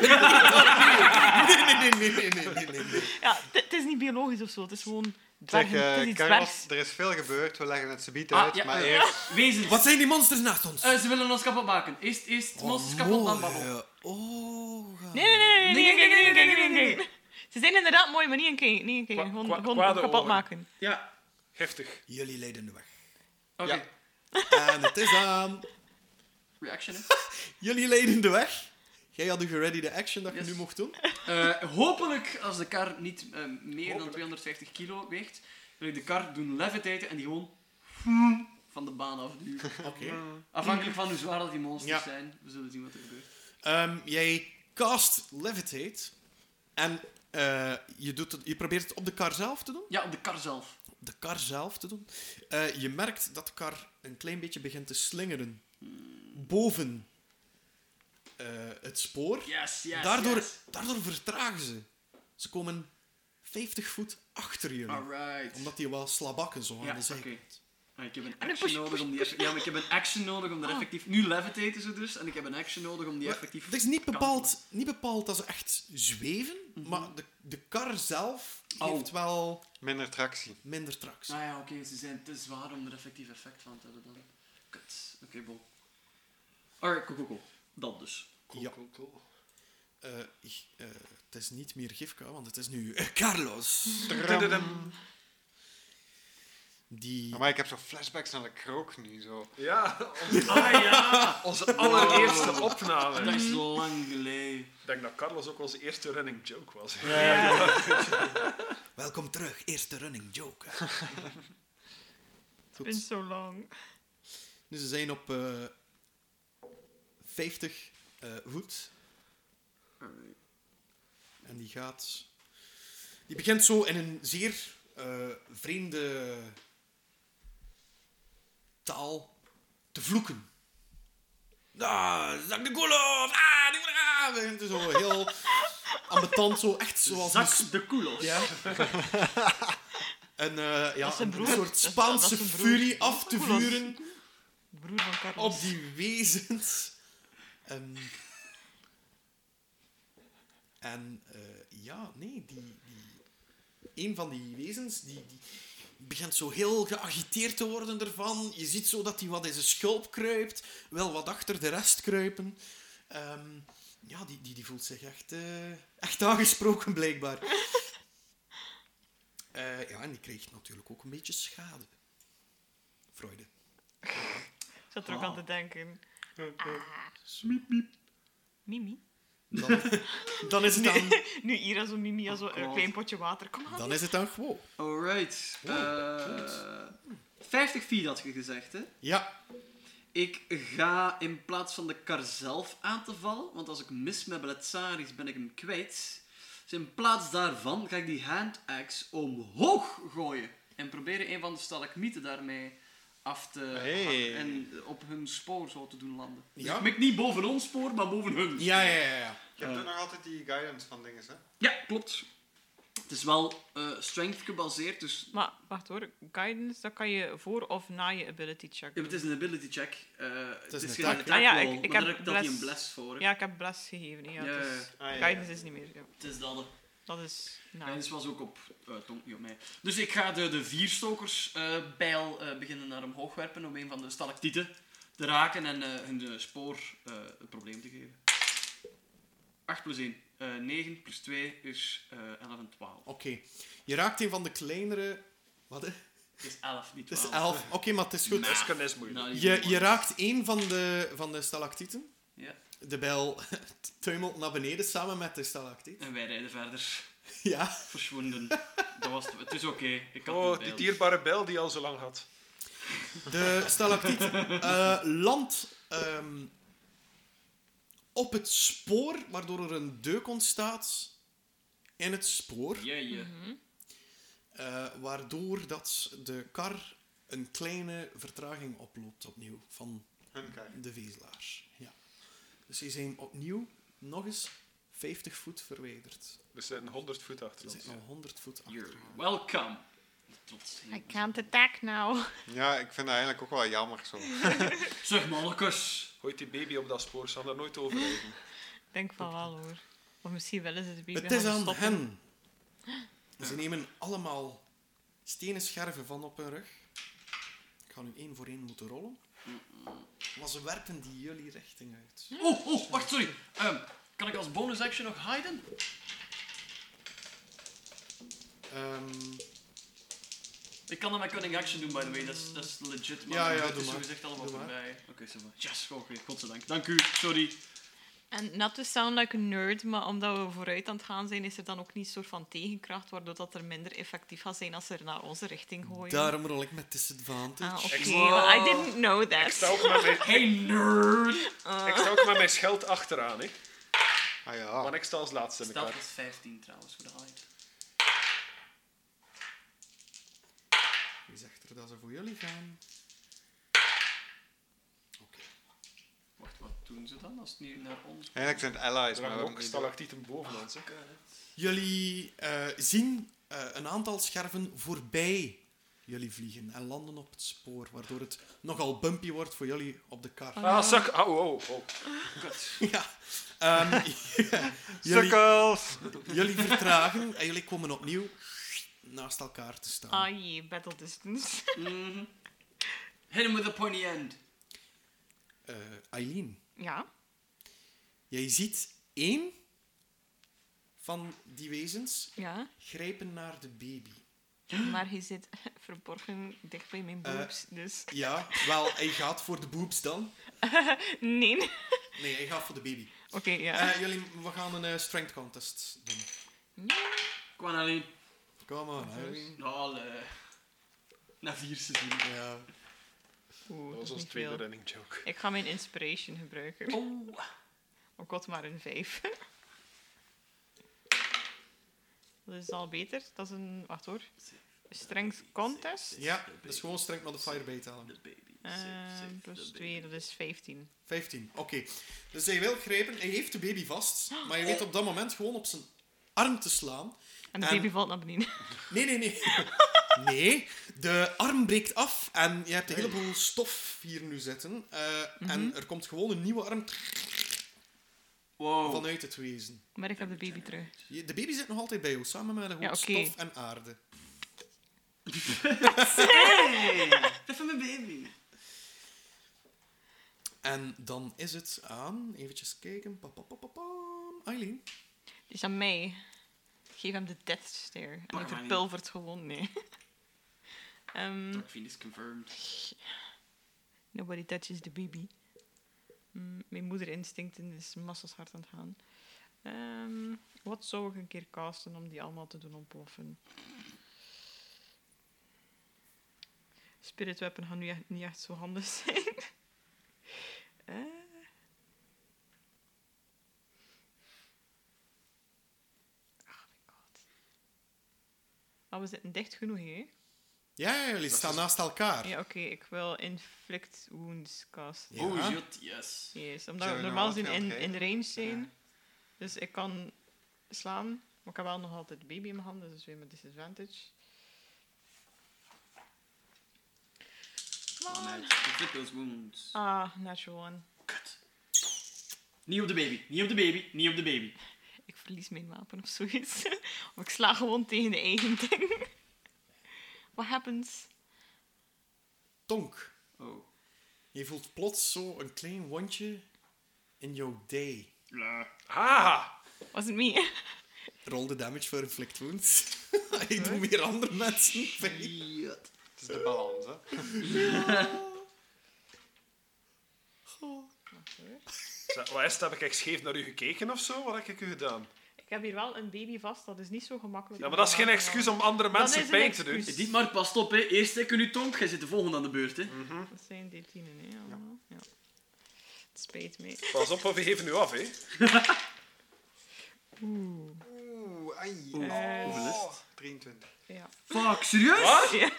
[SPEAKER 4] Nee, nee, nee, nee, nee, nee, nee, nee.
[SPEAKER 5] Ja, het- het is niet biologisch of zo. Het is gewoon
[SPEAKER 3] Zeg,
[SPEAKER 5] dwergen. het is
[SPEAKER 3] eh
[SPEAKER 5] iets
[SPEAKER 3] Carlos,
[SPEAKER 5] dwergs.
[SPEAKER 3] er is veel gebeurd. We leggen het subiet
[SPEAKER 2] Ah,
[SPEAKER 3] uit.
[SPEAKER 2] ja,
[SPEAKER 3] maar
[SPEAKER 2] eh,
[SPEAKER 3] eerst...
[SPEAKER 2] Wezens.
[SPEAKER 4] Wat zijn die monsters naast ons?
[SPEAKER 2] Eh, ze willen ons kapot maken. Eerst, eerst monsters kapot, dan babbel.
[SPEAKER 4] mooie ogen.
[SPEAKER 5] Nee, nee, nee, nee,
[SPEAKER 2] Nee, nee,
[SPEAKER 5] nee, nee,
[SPEAKER 2] nee, nee,
[SPEAKER 5] nee, nee,
[SPEAKER 2] nee, nee,
[SPEAKER 5] nee,
[SPEAKER 2] nee.
[SPEAKER 5] Ze zijn inderdaad mooi, maar niet een keer. Niet een keer.
[SPEAKER 1] Kwa-
[SPEAKER 5] Gewoon,
[SPEAKER 1] kwa-
[SPEAKER 5] gewoon
[SPEAKER 1] kwade
[SPEAKER 5] kapot
[SPEAKER 1] ogen.
[SPEAKER 5] maken.
[SPEAKER 2] Ja,
[SPEAKER 1] Giftig.
[SPEAKER 4] Jullie leiden de weg.
[SPEAKER 2] oké.
[SPEAKER 3] Ja.
[SPEAKER 4] En het is aan.
[SPEAKER 2] Reaction, hè.
[SPEAKER 4] Jullie leiden de weg. Jij had een gereadyde action dat je
[SPEAKER 2] Yes.
[SPEAKER 4] nu mocht doen.
[SPEAKER 2] Eh, hopelijk, als de kar niet eh, meer dan 250 kilo weegt, wil ik de kar doen levitaten en die gewoon van de baan afduwen.
[SPEAKER 4] Oké.
[SPEAKER 2] Afhankelijk van hoe zwaar dat die monsters
[SPEAKER 4] Ja.
[SPEAKER 2] zijn, we zullen zien wat er gebeurt.
[SPEAKER 4] Ehm, jij cast Levitate. En eh, je, doet het, je probeert het op de kar zelf te doen.
[SPEAKER 2] Ja, op de kar zelf.
[SPEAKER 4] De kar zelf te doen. Eh, je merkt dat de kar een klein beetje begint te slingeren. Boven eh, het spoor.
[SPEAKER 2] Yes, yes,
[SPEAKER 4] daardoor,
[SPEAKER 2] yes.
[SPEAKER 4] daardoor vertragen ze. Ze komen 50 voet achter jullie.
[SPEAKER 2] Alright.
[SPEAKER 4] Omdat die wel slabakken zo aan
[SPEAKER 2] Ja,
[SPEAKER 4] de
[SPEAKER 2] oké.
[SPEAKER 4] zijkant.
[SPEAKER 2] Ah, Ik heb een Ah.
[SPEAKER 5] nu
[SPEAKER 2] action
[SPEAKER 5] push,
[SPEAKER 2] nodig
[SPEAKER 5] push,
[SPEAKER 2] om die eff- Ja, maar ik heb een action nodig om er effectief... Nu levitaten ze dus, en ik heb een action nodig om die
[SPEAKER 4] Maar
[SPEAKER 2] effectief...
[SPEAKER 4] Het is niet
[SPEAKER 2] te
[SPEAKER 4] bepaald, niet bepaald dat ze echt zweven,
[SPEAKER 2] Mhm.
[SPEAKER 4] maar de, de kar zelf
[SPEAKER 2] Oh.
[SPEAKER 4] heeft wel
[SPEAKER 3] Minder tractie.
[SPEAKER 4] minder tractie.
[SPEAKER 2] kantelen. Ah ja, oké, ze zijn te zwaar om er effectief effect van te hebben dan. Kut. Oké, bol. Alright, cool, cool, cool. Dat dus.
[SPEAKER 4] ja.
[SPEAKER 1] Cool, cool.
[SPEAKER 4] Eh, ik- eh, het is niet meer Gifka, want het is nu eh, Carlos.
[SPEAKER 1] Tududum.
[SPEAKER 4] Die...
[SPEAKER 3] Maar ik heb zo flashbacks naar de krook nu. Zo.
[SPEAKER 1] Ja,
[SPEAKER 2] Ah ja!
[SPEAKER 1] onze allereerste opname.
[SPEAKER 2] Dat is lang geleden.
[SPEAKER 1] Ik denk dat Carlos ook onze eerste running joke was.
[SPEAKER 4] Welkom terug, eerste running joke.
[SPEAKER 5] It's been
[SPEAKER 4] Goed.
[SPEAKER 5] so long.
[SPEAKER 4] Dus ze zijn op eh, 50 eh, eh, voet. En die gaat... Die begint zo in een zeer eh, vreemde taal te vloeken. Ah, zak de koolhof! Ah, die ah! Begint zo heel ambetant, zo echt zoals... een
[SPEAKER 7] Zak de koelos.
[SPEAKER 4] ja. en eh, ja,
[SPEAKER 5] is zijn
[SPEAKER 4] een
[SPEAKER 5] broer. Dat
[SPEAKER 4] soort
[SPEAKER 5] is- dat is
[SPEAKER 4] Spaanse
[SPEAKER 5] zijn broer.
[SPEAKER 4] furie af te
[SPEAKER 5] Oeh, dat is-
[SPEAKER 4] vuren
[SPEAKER 5] De broer van Carlos.
[SPEAKER 4] op die wezens. Ehm, En, en eh, ja, nee, die, die, een van die wezens die, die begint zo heel geagiteerd te worden ervan. Je ziet zo dat hij wat in zijn schulp kruipt, wel wat achter de rest kruipen. Ehm, ja, die, die, die voelt zich echt, eh, echt aangesproken, blijkbaar. Eh, ja, en die kreeg natuurlijk ook een beetje schade. Freude.
[SPEAKER 5] Ik zat er ook aan te denken. Mimi.
[SPEAKER 4] Dan, dan is het dan
[SPEAKER 5] Nu Ira zo Mimi, als zo een
[SPEAKER 2] God.
[SPEAKER 5] klein potje water. Kom aan.
[SPEAKER 4] Dan is het dan gewoon.
[SPEAKER 2] Alright. Eh 50 feet had je gezegd, hè?
[SPEAKER 4] Ja.
[SPEAKER 2] Ik ga in plaats van de kar zelf aan te vallen, want als ik mis met Bletsaris ben ik hem kwijt. Dus in plaats daarvan ga ik die handaxe omhoog gooien. En proberen een van de stalagmieten daarmee af te
[SPEAKER 3] Hey.
[SPEAKER 2] hakken en op hun spoor zo te doen landen. Dus
[SPEAKER 4] Ja.
[SPEAKER 2] ik mik niet boven ons spoor, maar boven hun.
[SPEAKER 4] Ja, ja, ja. ja.
[SPEAKER 3] Je hebt ook nog altijd die guidance van dingen, hè?
[SPEAKER 2] Ja, klopt. Het is wel eh, strength gebaseerd, dus
[SPEAKER 5] Maar wacht hoor, guidance, dat kan je voor of na je ability check.
[SPEAKER 2] ja,
[SPEAKER 5] doen.
[SPEAKER 2] het is een ability check. Eh, het
[SPEAKER 4] is
[SPEAKER 2] is,
[SPEAKER 4] een
[SPEAKER 2] geen attack
[SPEAKER 4] attack.
[SPEAKER 5] Ah ja,
[SPEAKER 2] roll,
[SPEAKER 5] ik-
[SPEAKER 2] maar
[SPEAKER 5] ik
[SPEAKER 2] daar
[SPEAKER 5] heb
[SPEAKER 2] heb ik dat je een
[SPEAKER 5] bless-
[SPEAKER 2] bless voor. hè.
[SPEAKER 5] Ja, ik heb bless gegeven. Ja,
[SPEAKER 2] Ja,
[SPEAKER 5] dus
[SPEAKER 2] ja, ja.
[SPEAKER 3] Ah, ja, ja.
[SPEAKER 5] Guidance is niet meer. Ja.
[SPEAKER 2] Het is dat. hè.
[SPEAKER 5] Dat is.
[SPEAKER 2] En
[SPEAKER 5] Nou,
[SPEAKER 2] dit was ook op eh Tonk, niet op mij. Dus ik ga de, de vierstokers eh, bijl eh, beginnen naar omhoog werpen om een van de stalactieten te raken en eh, hun eh, spoor eh, het probleem te geven. 8 plus 1. 9 plus 2 is eh, 11 en 12.
[SPEAKER 4] Oké. Je raakt een van de kleinere... Wat, hè?
[SPEAKER 2] Het is 11, niet
[SPEAKER 4] Het
[SPEAKER 2] 12.
[SPEAKER 4] is elf. Oké, maar het is goed.
[SPEAKER 6] Mesken is moeilijk.
[SPEAKER 2] Nou,
[SPEAKER 4] Je, je raakt een van de, van de stalactieten.
[SPEAKER 2] Ja.
[SPEAKER 4] De bijl tuimelt naar beneden samen met de stalactiet.
[SPEAKER 2] En wij rijden verder.
[SPEAKER 4] Ja.
[SPEAKER 2] Verschwonden. Dat was het. Het is oké. Ik had
[SPEAKER 1] Oh,
[SPEAKER 2] het
[SPEAKER 1] die
[SPEAKER 2] bijl.
[SPEAKER 1] dierbare bel die al zo lang had.
[SPEAKER 4] De stalactiet eh, landt ehm, op het spoor, waardoor er een deuk ontstaat in het spoor.
[SPEAKER 2] Ja, ja.
[SPEAKER 4] Eh, waardoor dat de kar een kleine vertraging oploopt opnieuw van
[SPEAKER 3] Hun kar.
[SPEAKER 4] de vezelaars. Ja. Dus die zijn opnieuw nog eens 50 voet verwijderd.
[SPEAKER 1] Dus een 100 voet achter
[SPEAKER 4] Ze
[SPEAKER 1] ons.
[SPEAKER 4] zijn al 100 voet achter.
[SPEAKER 2] You're welcome. Trots.
[SPEAKER 5] I can't attack now.
[SPEAKER 3] Ja, ik vind dat eigenlijk ook wel jammer zo. Ah,
[SPEAKER 2] Zeg, mannekes.
[SPEAKER 1] Gooit die baby op dat spoor, ze gaan daar nooit overleven.
[SPEAKER 5] Ik denk van wel hoor. Of misschien wel eens het baby
[SPEAKER 4] Het is
[SPEAKER 5] gaan
[SPEAKER 4] aan
[SPEAKER 5] stoppen.
[SPEAKER 4] hen. Ze nemen allemaal stenen scherven van op hun rug. Ik ga nu één voor één moeten rollen. Maar ze werpen die jullie richting uit.
[SPEAKER 2] Oh, oh, wacht, sorry. Ehm, kan ik als bonus action nog hiden?
[SPEAKER 4] Ehm,
[SPEAKER 5] Hm?
[SPEAKER 2] Ik kan dat met cutting action doen, by the way. Dat is, dat is legit. Maar
[SPEAKER 4] Ja, ja,
[SPEAKER 2] dat
[SPEAKER 4] doe
[SPEAKER 2] is
[SPEAKER 4] maar.
[SPEAKER 2] zogezegd allemaal
[SPEAKER 4] Doe maar.
[SPEAKER 2] voorbij. Oké, zo maar. Yes, oké. Godzijdank. Dank u. Sorry.
[SPEAKER 5] En not to sound like a nerd, maar omdat we vooruit aan het gaan zijn, is er dan ook niet een soort van tegenkracht, waardoor dat er minder effectief gaat zijn als ze er naar onze richting gooien.
[SPEAKER 4] daarom rol ik met disadvantage.
[SPEAKER 5] Ah, oké.
[SPEAKER 2] Extra-
[SPEAKER 5] well, I didn't know
[SPEAKER 1] Ik sta
[SPEAKER 5] that.
[SPEAKER 1] ook met mijn,
[SPEAKER 2] Hey, nerd!
[SPEAKER 1] ik sta ook met mijn schild achteraan, hè.
[SPEAKER 3] Ah ja.
[SPEAKER 1] Want ik sta als laatste in de
[SPEAKER 2] Stelt
[SPEAKER 1] kar.
[SPEAKER 2] was 15 trouwens voor de hide.
[SPEAKER 5] oh.
[SPEAKER 4] Wie zegt er dat ze voor jullie gaan? Oké.
[SPEAKER 2] Wacht, wat doen ze dan als het nu naar ons
[SPEAKER 3] Eigenlijk zijn het allies,
[SPEAKER 1] Er
[SPEAKER 3] maar we
[SPEAKER 1] hangen
[SPEAKER 3] hebben
[SPEAKER 1] Dus ook
[SPEAKER 3] het niet door.
[SPEAKER 1] stalactieten boven ons, hè.
[SPEAKER 4] Jullie eh, zien eh, een aantal scherven voorbij jullie vliegen en landen op het spoor, waardoor het nogal bumpy wordt voor jullie op de kar.
[SPEAKER 1] Ah, oh. zak. Au, au, au.
[SPEAKER 4] Ja. Ehm, jullie,
[SPEAKER 3] Sukkels!
[SPEAKER 4] jullie vertragen en jullie komen opnieuw naast elkaar te staan.
[SPEAKER 5] Ah jee, battle distance.
[SPEAKER 2] Hit him with a pointy end.
[SPEAKER 4] Eh, Eileen,
[SPEAKER 5] ja.
[SPEAKER 4] jij ziet één van die wezens
[SPEAKER 5] Ja,
[SPEAKER 4] grijpen naar de baby.
[SPEAKER 5] maar hij zit verborgen dicht bij mijn boobs, dus...
[SPEAKER 4] Ja, wel, hij gaat voor de boobs dan.
[SPEAKER 5] Nee. Oké,
[SPEAKER 4] Nee, hij gaat voor de baby.
[SPEAKER 5] ja.
[SPEAKER 4] Eh, jullie, we gaan een eh, strength contest doen.
[SPEAKER 2] Kom aan, alleen.
[SPEAKER 4] Kom on, Harry.
[SPEAKER 2] Alle. Na vier seizoenen.
[SPEAKER 4] Ja.
[SPEAKER 5] Oeh,
[SPEAKER 1] Dat
[SPEAKER 5] dat
[SPEAKER 1] was
[SPEAKER 5] is
[SPEAKER 1] onze
[SPEAKER 5] niet
[SPEAKER 1] tweede
[SPEAKER 5] veel.
[SPEAKER 1] running joke.
[SPEAKER 5] Ik ga mijn inspiration gebruiken.
[SPEAKER 2] Oh.
[SPEAKER 5] Oh god, maar een 5. dat is al beter. Dat is een... Wacht hoor. Strength contest.
[SPEAKER 4] Ja, dat is gewoon streng modifier bijtalen.
[SPEAKER 2] De baby.
[SPEAKER 5] Eh, plus 2, dat is 15.
[SPEAKER 4] 15, oké. Dus hij wil grijpen, hij heeft de baby vast, maar je weet op dat moment gewoon op zijn arm te slaan.
[SPEAKER 5] En de
[SPEAKER 4] En-
[SPEAKER 5] baby valt naar beneden.
[SPEAKER 4] Nee, nee, nee. Nee, de arm breekt af en je hebt een heleboel stof hier nu zitten. eh, En er komt gewoon een nieuwe arm
[SPEAKER 2] Wow.
[SPEAKER 4] vanuit het wezen.
[SPEAKER 5] Maar ik heb de baby terug.
[SPEAKER 4] Je- De baby zit nog altijd bij jou, samen met een hoop
[SPEAKER 5] Ja, oké.
[SPEAKER 4] stof en aarde.
[SPEAKER 2] Hey! Even mijn baby.
[SPEAKER 4] En dan is het aan, eventjes kijken, pa, pa, pa, pa, pam. Eileen.
[SPEAKER 5] Die is Dus aan mij. Ik geef hem de death stare. En
[SPEAKER 2] maar
[SPEAKER 5] hij
[SPEAKER 2] niet.
[SPEAKER 5] verpulvert gewoon, nee. Ehm,
[SPEAKER 2] Dark Fiend is confirmed.
[SPEAKER 5] nobody touches the baby. Mm, mijn moederinstincten is massas hard aan het gaan. Ehm, wat zou ik een keer casten om die allemaal te doen ontploffen? Spirit weapon gaan nu echt niet echt zo handig zijn. Eh. Oh my god. Maar we zitten dicht genoeg, hè?
[SPEAKER 4] Ja, ja, jullie staan naast elkaar.
[SPEAKER 5] Ja, oké, ik wil inflict wounds casten.
[SPEAKER 4] Ja.
[SPEAKER 2] Oh, jut, yes.
[SPEAKER 5] Yes, omdat
[SPEAKER 3] Zijn
[SPEAKER 5] we
[SPEAKER 3] we
[SPEAKER 5] normaal
[SPEAKER 3] nou
[SPEAKER 5] gezien in,
[SPEAKER 3] afgehaald,
[SPEAKER 5] in range zijn.
[SPEAKER 3] Ja.
[SPEAKER 5] Dus ik kan slaan, maar ik heb wel nog altijd de baby in mijn handen, dus weer met disadvantage.
[SPEAKER 2] Oh, nee. Flip those wounds.
[SPEAKER 5] Ah, natural one.
[SPEAKER 2] Kut. Niet op de baby, niet op de baby, niet op de baby.
[SPEAKER 5] Ik verlies mijn wapen of zoiets. of ik sla gewoon tegen de eigen ding. What happens?
[SPEAKER 4] Tonk.
[SPEAKER 2] Oh.
[SPEAKER 4] Je voelt plots zo een klein wondje in jouw day.
[SPEAKER 1] Haha!
[SPEAKER 5] Was het me?
[SPEAKER 4] Rol de damage voor inflict wounds. Ik doe meer andere mensen pijn.
[SPEAKER 2] Jut.
[SPEAKER 3] Het is de balans, hè.
[SPEAKER 1] Zeg, Wat is het? Heb ik scheef naar u gekeken of zo? Wat heb ik u gedaan?
[SPEAKER 5] Ik heb hier wel een baby vast, dat is niet zo gemakkelijk.
[SPEAKER 1] Ja, maar dat is geen excuus om andere
[SPEAKER 5] Dat
[SPEAKER 1] mensen
[SPEAKER 5] is een
[SPEAKER 1] pijn te doen.
[SPEAKER 5] excuus.
[SPEAKER 2] Dit maar past op, hè. Eerst ik nu tonk, jij zit de volgende aan de beurt, hè.
[SPEAKER 5] Dat zijn dertienen, hè? allemaal. Ja. Het spijt me.
[SPEAKER 1] Pas op, want we geven u af, hè.
[SPEAKER 5] Oeh.
[SPEAKER 3] Oeh, ai.
[SPEAKER 1] Oh.
[SPEAKER 5] Eh,
[SPEAKER 2] Hoeveel is het?
[SPEAKER 3] 23.
[SPEAKER 5] ja.
[SPEAKER 2] Fuck, serieus?
[SPEAKER 1] Wat?
[SPEAKER 5] Ja.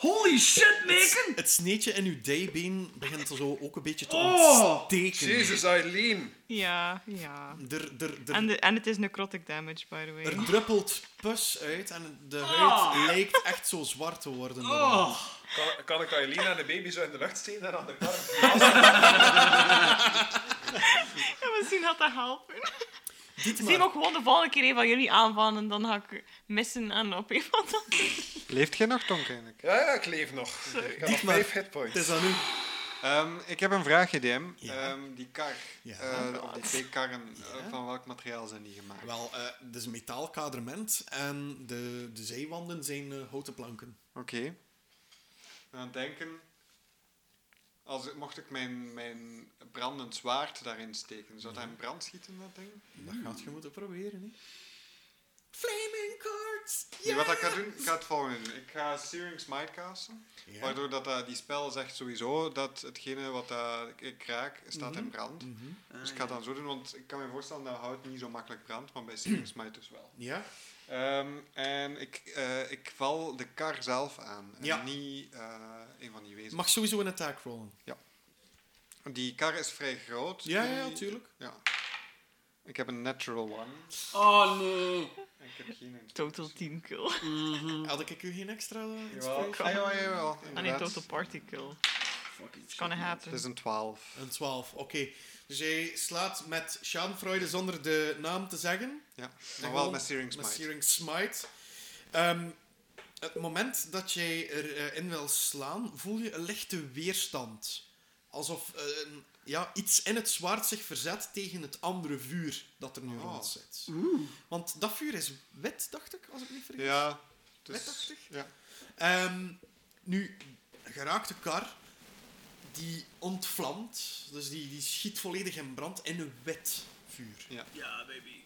[SPEAKER 2] Holy shit, Meken!
[SPEAKER 4] Het sneetje in uw daybeen begint zo ook een beetje te
[SPEAKER 2] Oh,
[SPEAKER 4] ontsteken.
[SPEAKER 1] Jezus, Eileen.
[SPEAKER 5] Ja, ja.
[SPEAKER 4] Er, er, er,
[SPEAKER 5] En, de, en het is necrotic damage, by the way.
[SPEAKER 4] er druppelt pus uit en de huid
[SPEAKER 2] Oh.
[SPEAKER 4] lijkt echt zo zwart te worden.
[SPEAKER 2] Oh.
[SPEAKER 1] Kan, kan ik Eileen en de baby zo in de lucht steken en aan de kar?
[SPEAKER 5] Ja, misschien had dat helpen.
[SPEAKER 4] Dit
[SPEAKER 5] Misschien
[SPEAKER 4] maar.
[SPEAKER 5] ook gewoon de volgende keer een van jullie aanvallen en dan ga ik missen en op iemand anders.
[SPEAKER 3] Leeft jij nog, Tonk, eigenlijk?
[SPEAKER 1] Ja, ja, ik leef nog. Ik heb nog
[SPEAKER 4] maar.
[SPEAKER 1] vijf
[SPEAKER 4] Het
[SPEAKER 1] hitpoints.
[SPEAKER 4] is aan u.
[SPEAKER 3] Ehm, ik heb een vraagje, DM.
[SPEAKER 4] Ja.
[SPEAKER 3] Ehm, die kar,
[SPEAKER 4] Ja.
[SPEAKER 3] eh, of die twee karren, eh,
[SPEAKER 4] Ja.
[SPEAKER 3] van welk materiaal zijn die gemaakt? Oké.
[SPEAKER 4] Wel, eh het is een metaalkaderment en de, de zijwanden zijn eh, houten planken.
[SPEAKER 3] Aan het denken, als, ik- mocht ik mijn, mijn brandend zwaard daarin steken, zou dat in brand schieten, dat ding?
[SPEAKER 4] Dat gaat je moeten proberen, hè. Flaming cards!
[SPEAKER 3] Nee, wat ik ga doen, ik ga het volgende doen. Ik ga Searing Smite casten.
[SPEAKER 4] Ja.
[SPEAKER 3] Waardoor dat, eh, die spel zegt sowieso dat hetgene wat eh, ik raak, staat in brand.
[SPEAKER 4] Mhm.
[SPEAKER 3] Dus ik ga het dan zo doen, want ik kan me voorstellen dat hout niet zo makkelijk brandt, maar bij Searing Smite dus wel.
[SPEAKER 4] Ja?
[SPEAKER 3] Ehm, en ik, eh, ik val de kar zelf aan, en
[SPEAKER 4] Ja.
[SPEAKER 3] niet eh, een van die wezens.
[SPEAKER 4] Mag sowieso een attack rollen.
[SPEAKER 3] Die kar is vrij groot.
[SPEAKER 4] Ja, ja,
[SPEAKER 3] Die-
[SPEAKER 4] ja, tuurlijk.
[SPEAKER 3] Ja. Ik heb een natural one.
[SPEAKER 2] Oh, nee.
[SPEAKER 3] En ik heb geen...
[SPEAKER 5] Total team kill. Ah,
[SPEAKER 4] Had ik u geen extra? eh,
[SPEAKER 3] Jawel, Ah,
[SPEAKER 5] kan.
[SPEAKER 3] jawel, jawel.
[SPEAKER 5] En niet
[SPEAKER 3] inderdaad.
[SPEAKER 5] total party kill.
[SPEAKER 2] Fucking shit.
[SPEAKER 5] Gonna
[SPEAKER 3] Het
[SPEAKER 5] happen.
[SPEAKER 3] is een 12.
[SPEAKER 4] Een 12, oké. Dus jij slaat met Schadenfreude zonder de naam te zeggen.
[SPEAKER 3] Ja, maar
[SPEAKER 4] En
[SPEAKER 3] wel
[SPEAKER 4] gewoon
[SPEAKER 3] met Searing Smite.
[SPEAKER 4] Met Searing Smite. Ehm, het moment dat jij erin wil slaan, voel je een lichte weerstand. Alsof eh, een- ja, iets in het zwaard zich verzet tegen het andere vuur dat er nu
[SPEAKER 3] Oh.
[SPEAKER 4] rond zit. Want dat vuur is wit, dacht ik, als ik me niet vergis.
[SPEAKER 3] Ja, het
[SPEAKER 4] Met
[SPEAKER 3] is...
[SPEAKER 4] 80?
[SPEAKER 3] Ja.
[SPEAKER 4] Ehm, nu, geraakte kar, die ontvlamt. Dus die, die schiet volledig in brand in een wit vuur.
[SPEAKER 2] Ja, baby.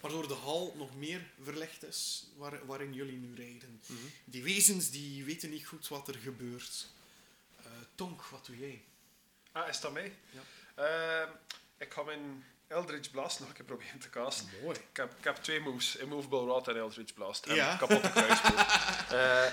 [SPEAKER 4] Waardoor de hal nog meer verlegd is waar, waarin jullie nu rijden. Die wezens die weten niet goed wat er gebeurt. Eh, Tonk, wat doe jij?
[SPEAKER 1] Ah, is dat mij?
[SPEAKER 4] Ja.
[SPEAKER 1] Ehm, ik ga mijn Eldritch Blast nog een keer proberen te casten.
[SPEAKER 4] Mooi.
[SPEAKER 1] Ik heb, ik heb twee moves, Immovable Rod en Eldritch Blast. En
[SPEAKER 4] Ja.
[SPEAKER 1] een kapotte kruisboog. Eh,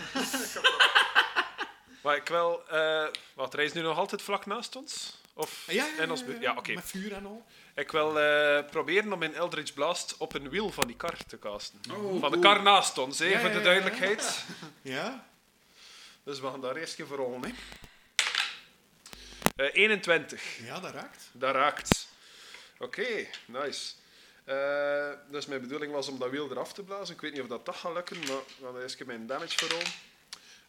[SPEAKER 1] maar ik wil... eh wat, hij is nu nog altijd vlak naast ons? Of
[SPEAKER 4] Ja, ja,
[SPEAKER 1] in ons buurt? Ah, Ja, oké.
[SPEAKER 4] Met vuur en al.
[SPEAKER 1] Ik wil eh, proberen om mijn Eldritch Blast op een wiel van die kar te casten.
[SPEAKER 2] Oh,
[SPEAKER 1] van de kar naast ons, hè,
[SPEAKER 4] Ja,
[SPEAKER 1] voor
[SPEAKER 4] ja,
[SPEAKER 1] de
[SPEAKER 4] ja,
[SPEAKER 1] duidelijkheid.
[SPEAKER 4] Ja?
[SPEAKER 1] Dus we gaan daar eerst even voor rollen. Hè. Eh, 21,
[SPEAKER 4] Ja, dat raakt.
[SPEAKER 1] dat raakt. Oké, nice. Eh, dus mijn bedoeling was om dat wiel eraf te blazen. Ik weet niet of dat, dat gaat lukken, maar we gaan eerst even mijn damage voor rollen.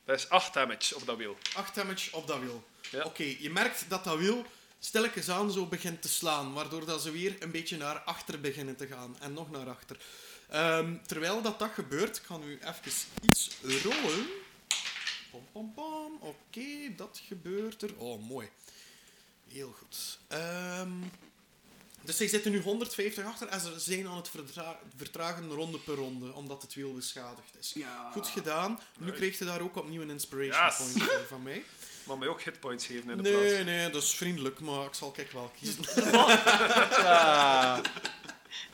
[SPEAKER 1] Dat is 8 damage op dat wiel.
[SPEAKER 4] 8 damage op dat wiel.
[SPEAKER 1] Ja.
[SPEAKER 4] Oké, je merkt dat dat wiel stilletjes aan zo begint te slaan, waardoor dat ze weer een beetje naar achter beginnen te gaan en nog naar achter. Ehm, terwijl dat, dat gebeurt, ik ga nu even iets rollen. Pom, pom, pom. Oké, dat gebeurt er. Oh, mooi. Heel goed. Ehm, dus zij zitten nu 150 achter en ze zijn aan het verdra- vertragen ronde per ronde, omdat het wiel beschadigd is.
[SPEAKER 2] Ja.
[SPEAKER 4] Goed gedaan. Nu kreeg je daar ook opnieuw een inspiration
[SPEAKER 1] Yes.
[SPEAKER 4] point voor van mij.
[SPEAKER 1] Maar mij ook hitpoints geven in de
[SPEAKER 4] Nee,
[SPEAKER 1] plaats.
[SPEAKER 4] nee, dat is vriendelijk, maar ik zal kijk wel kiezen.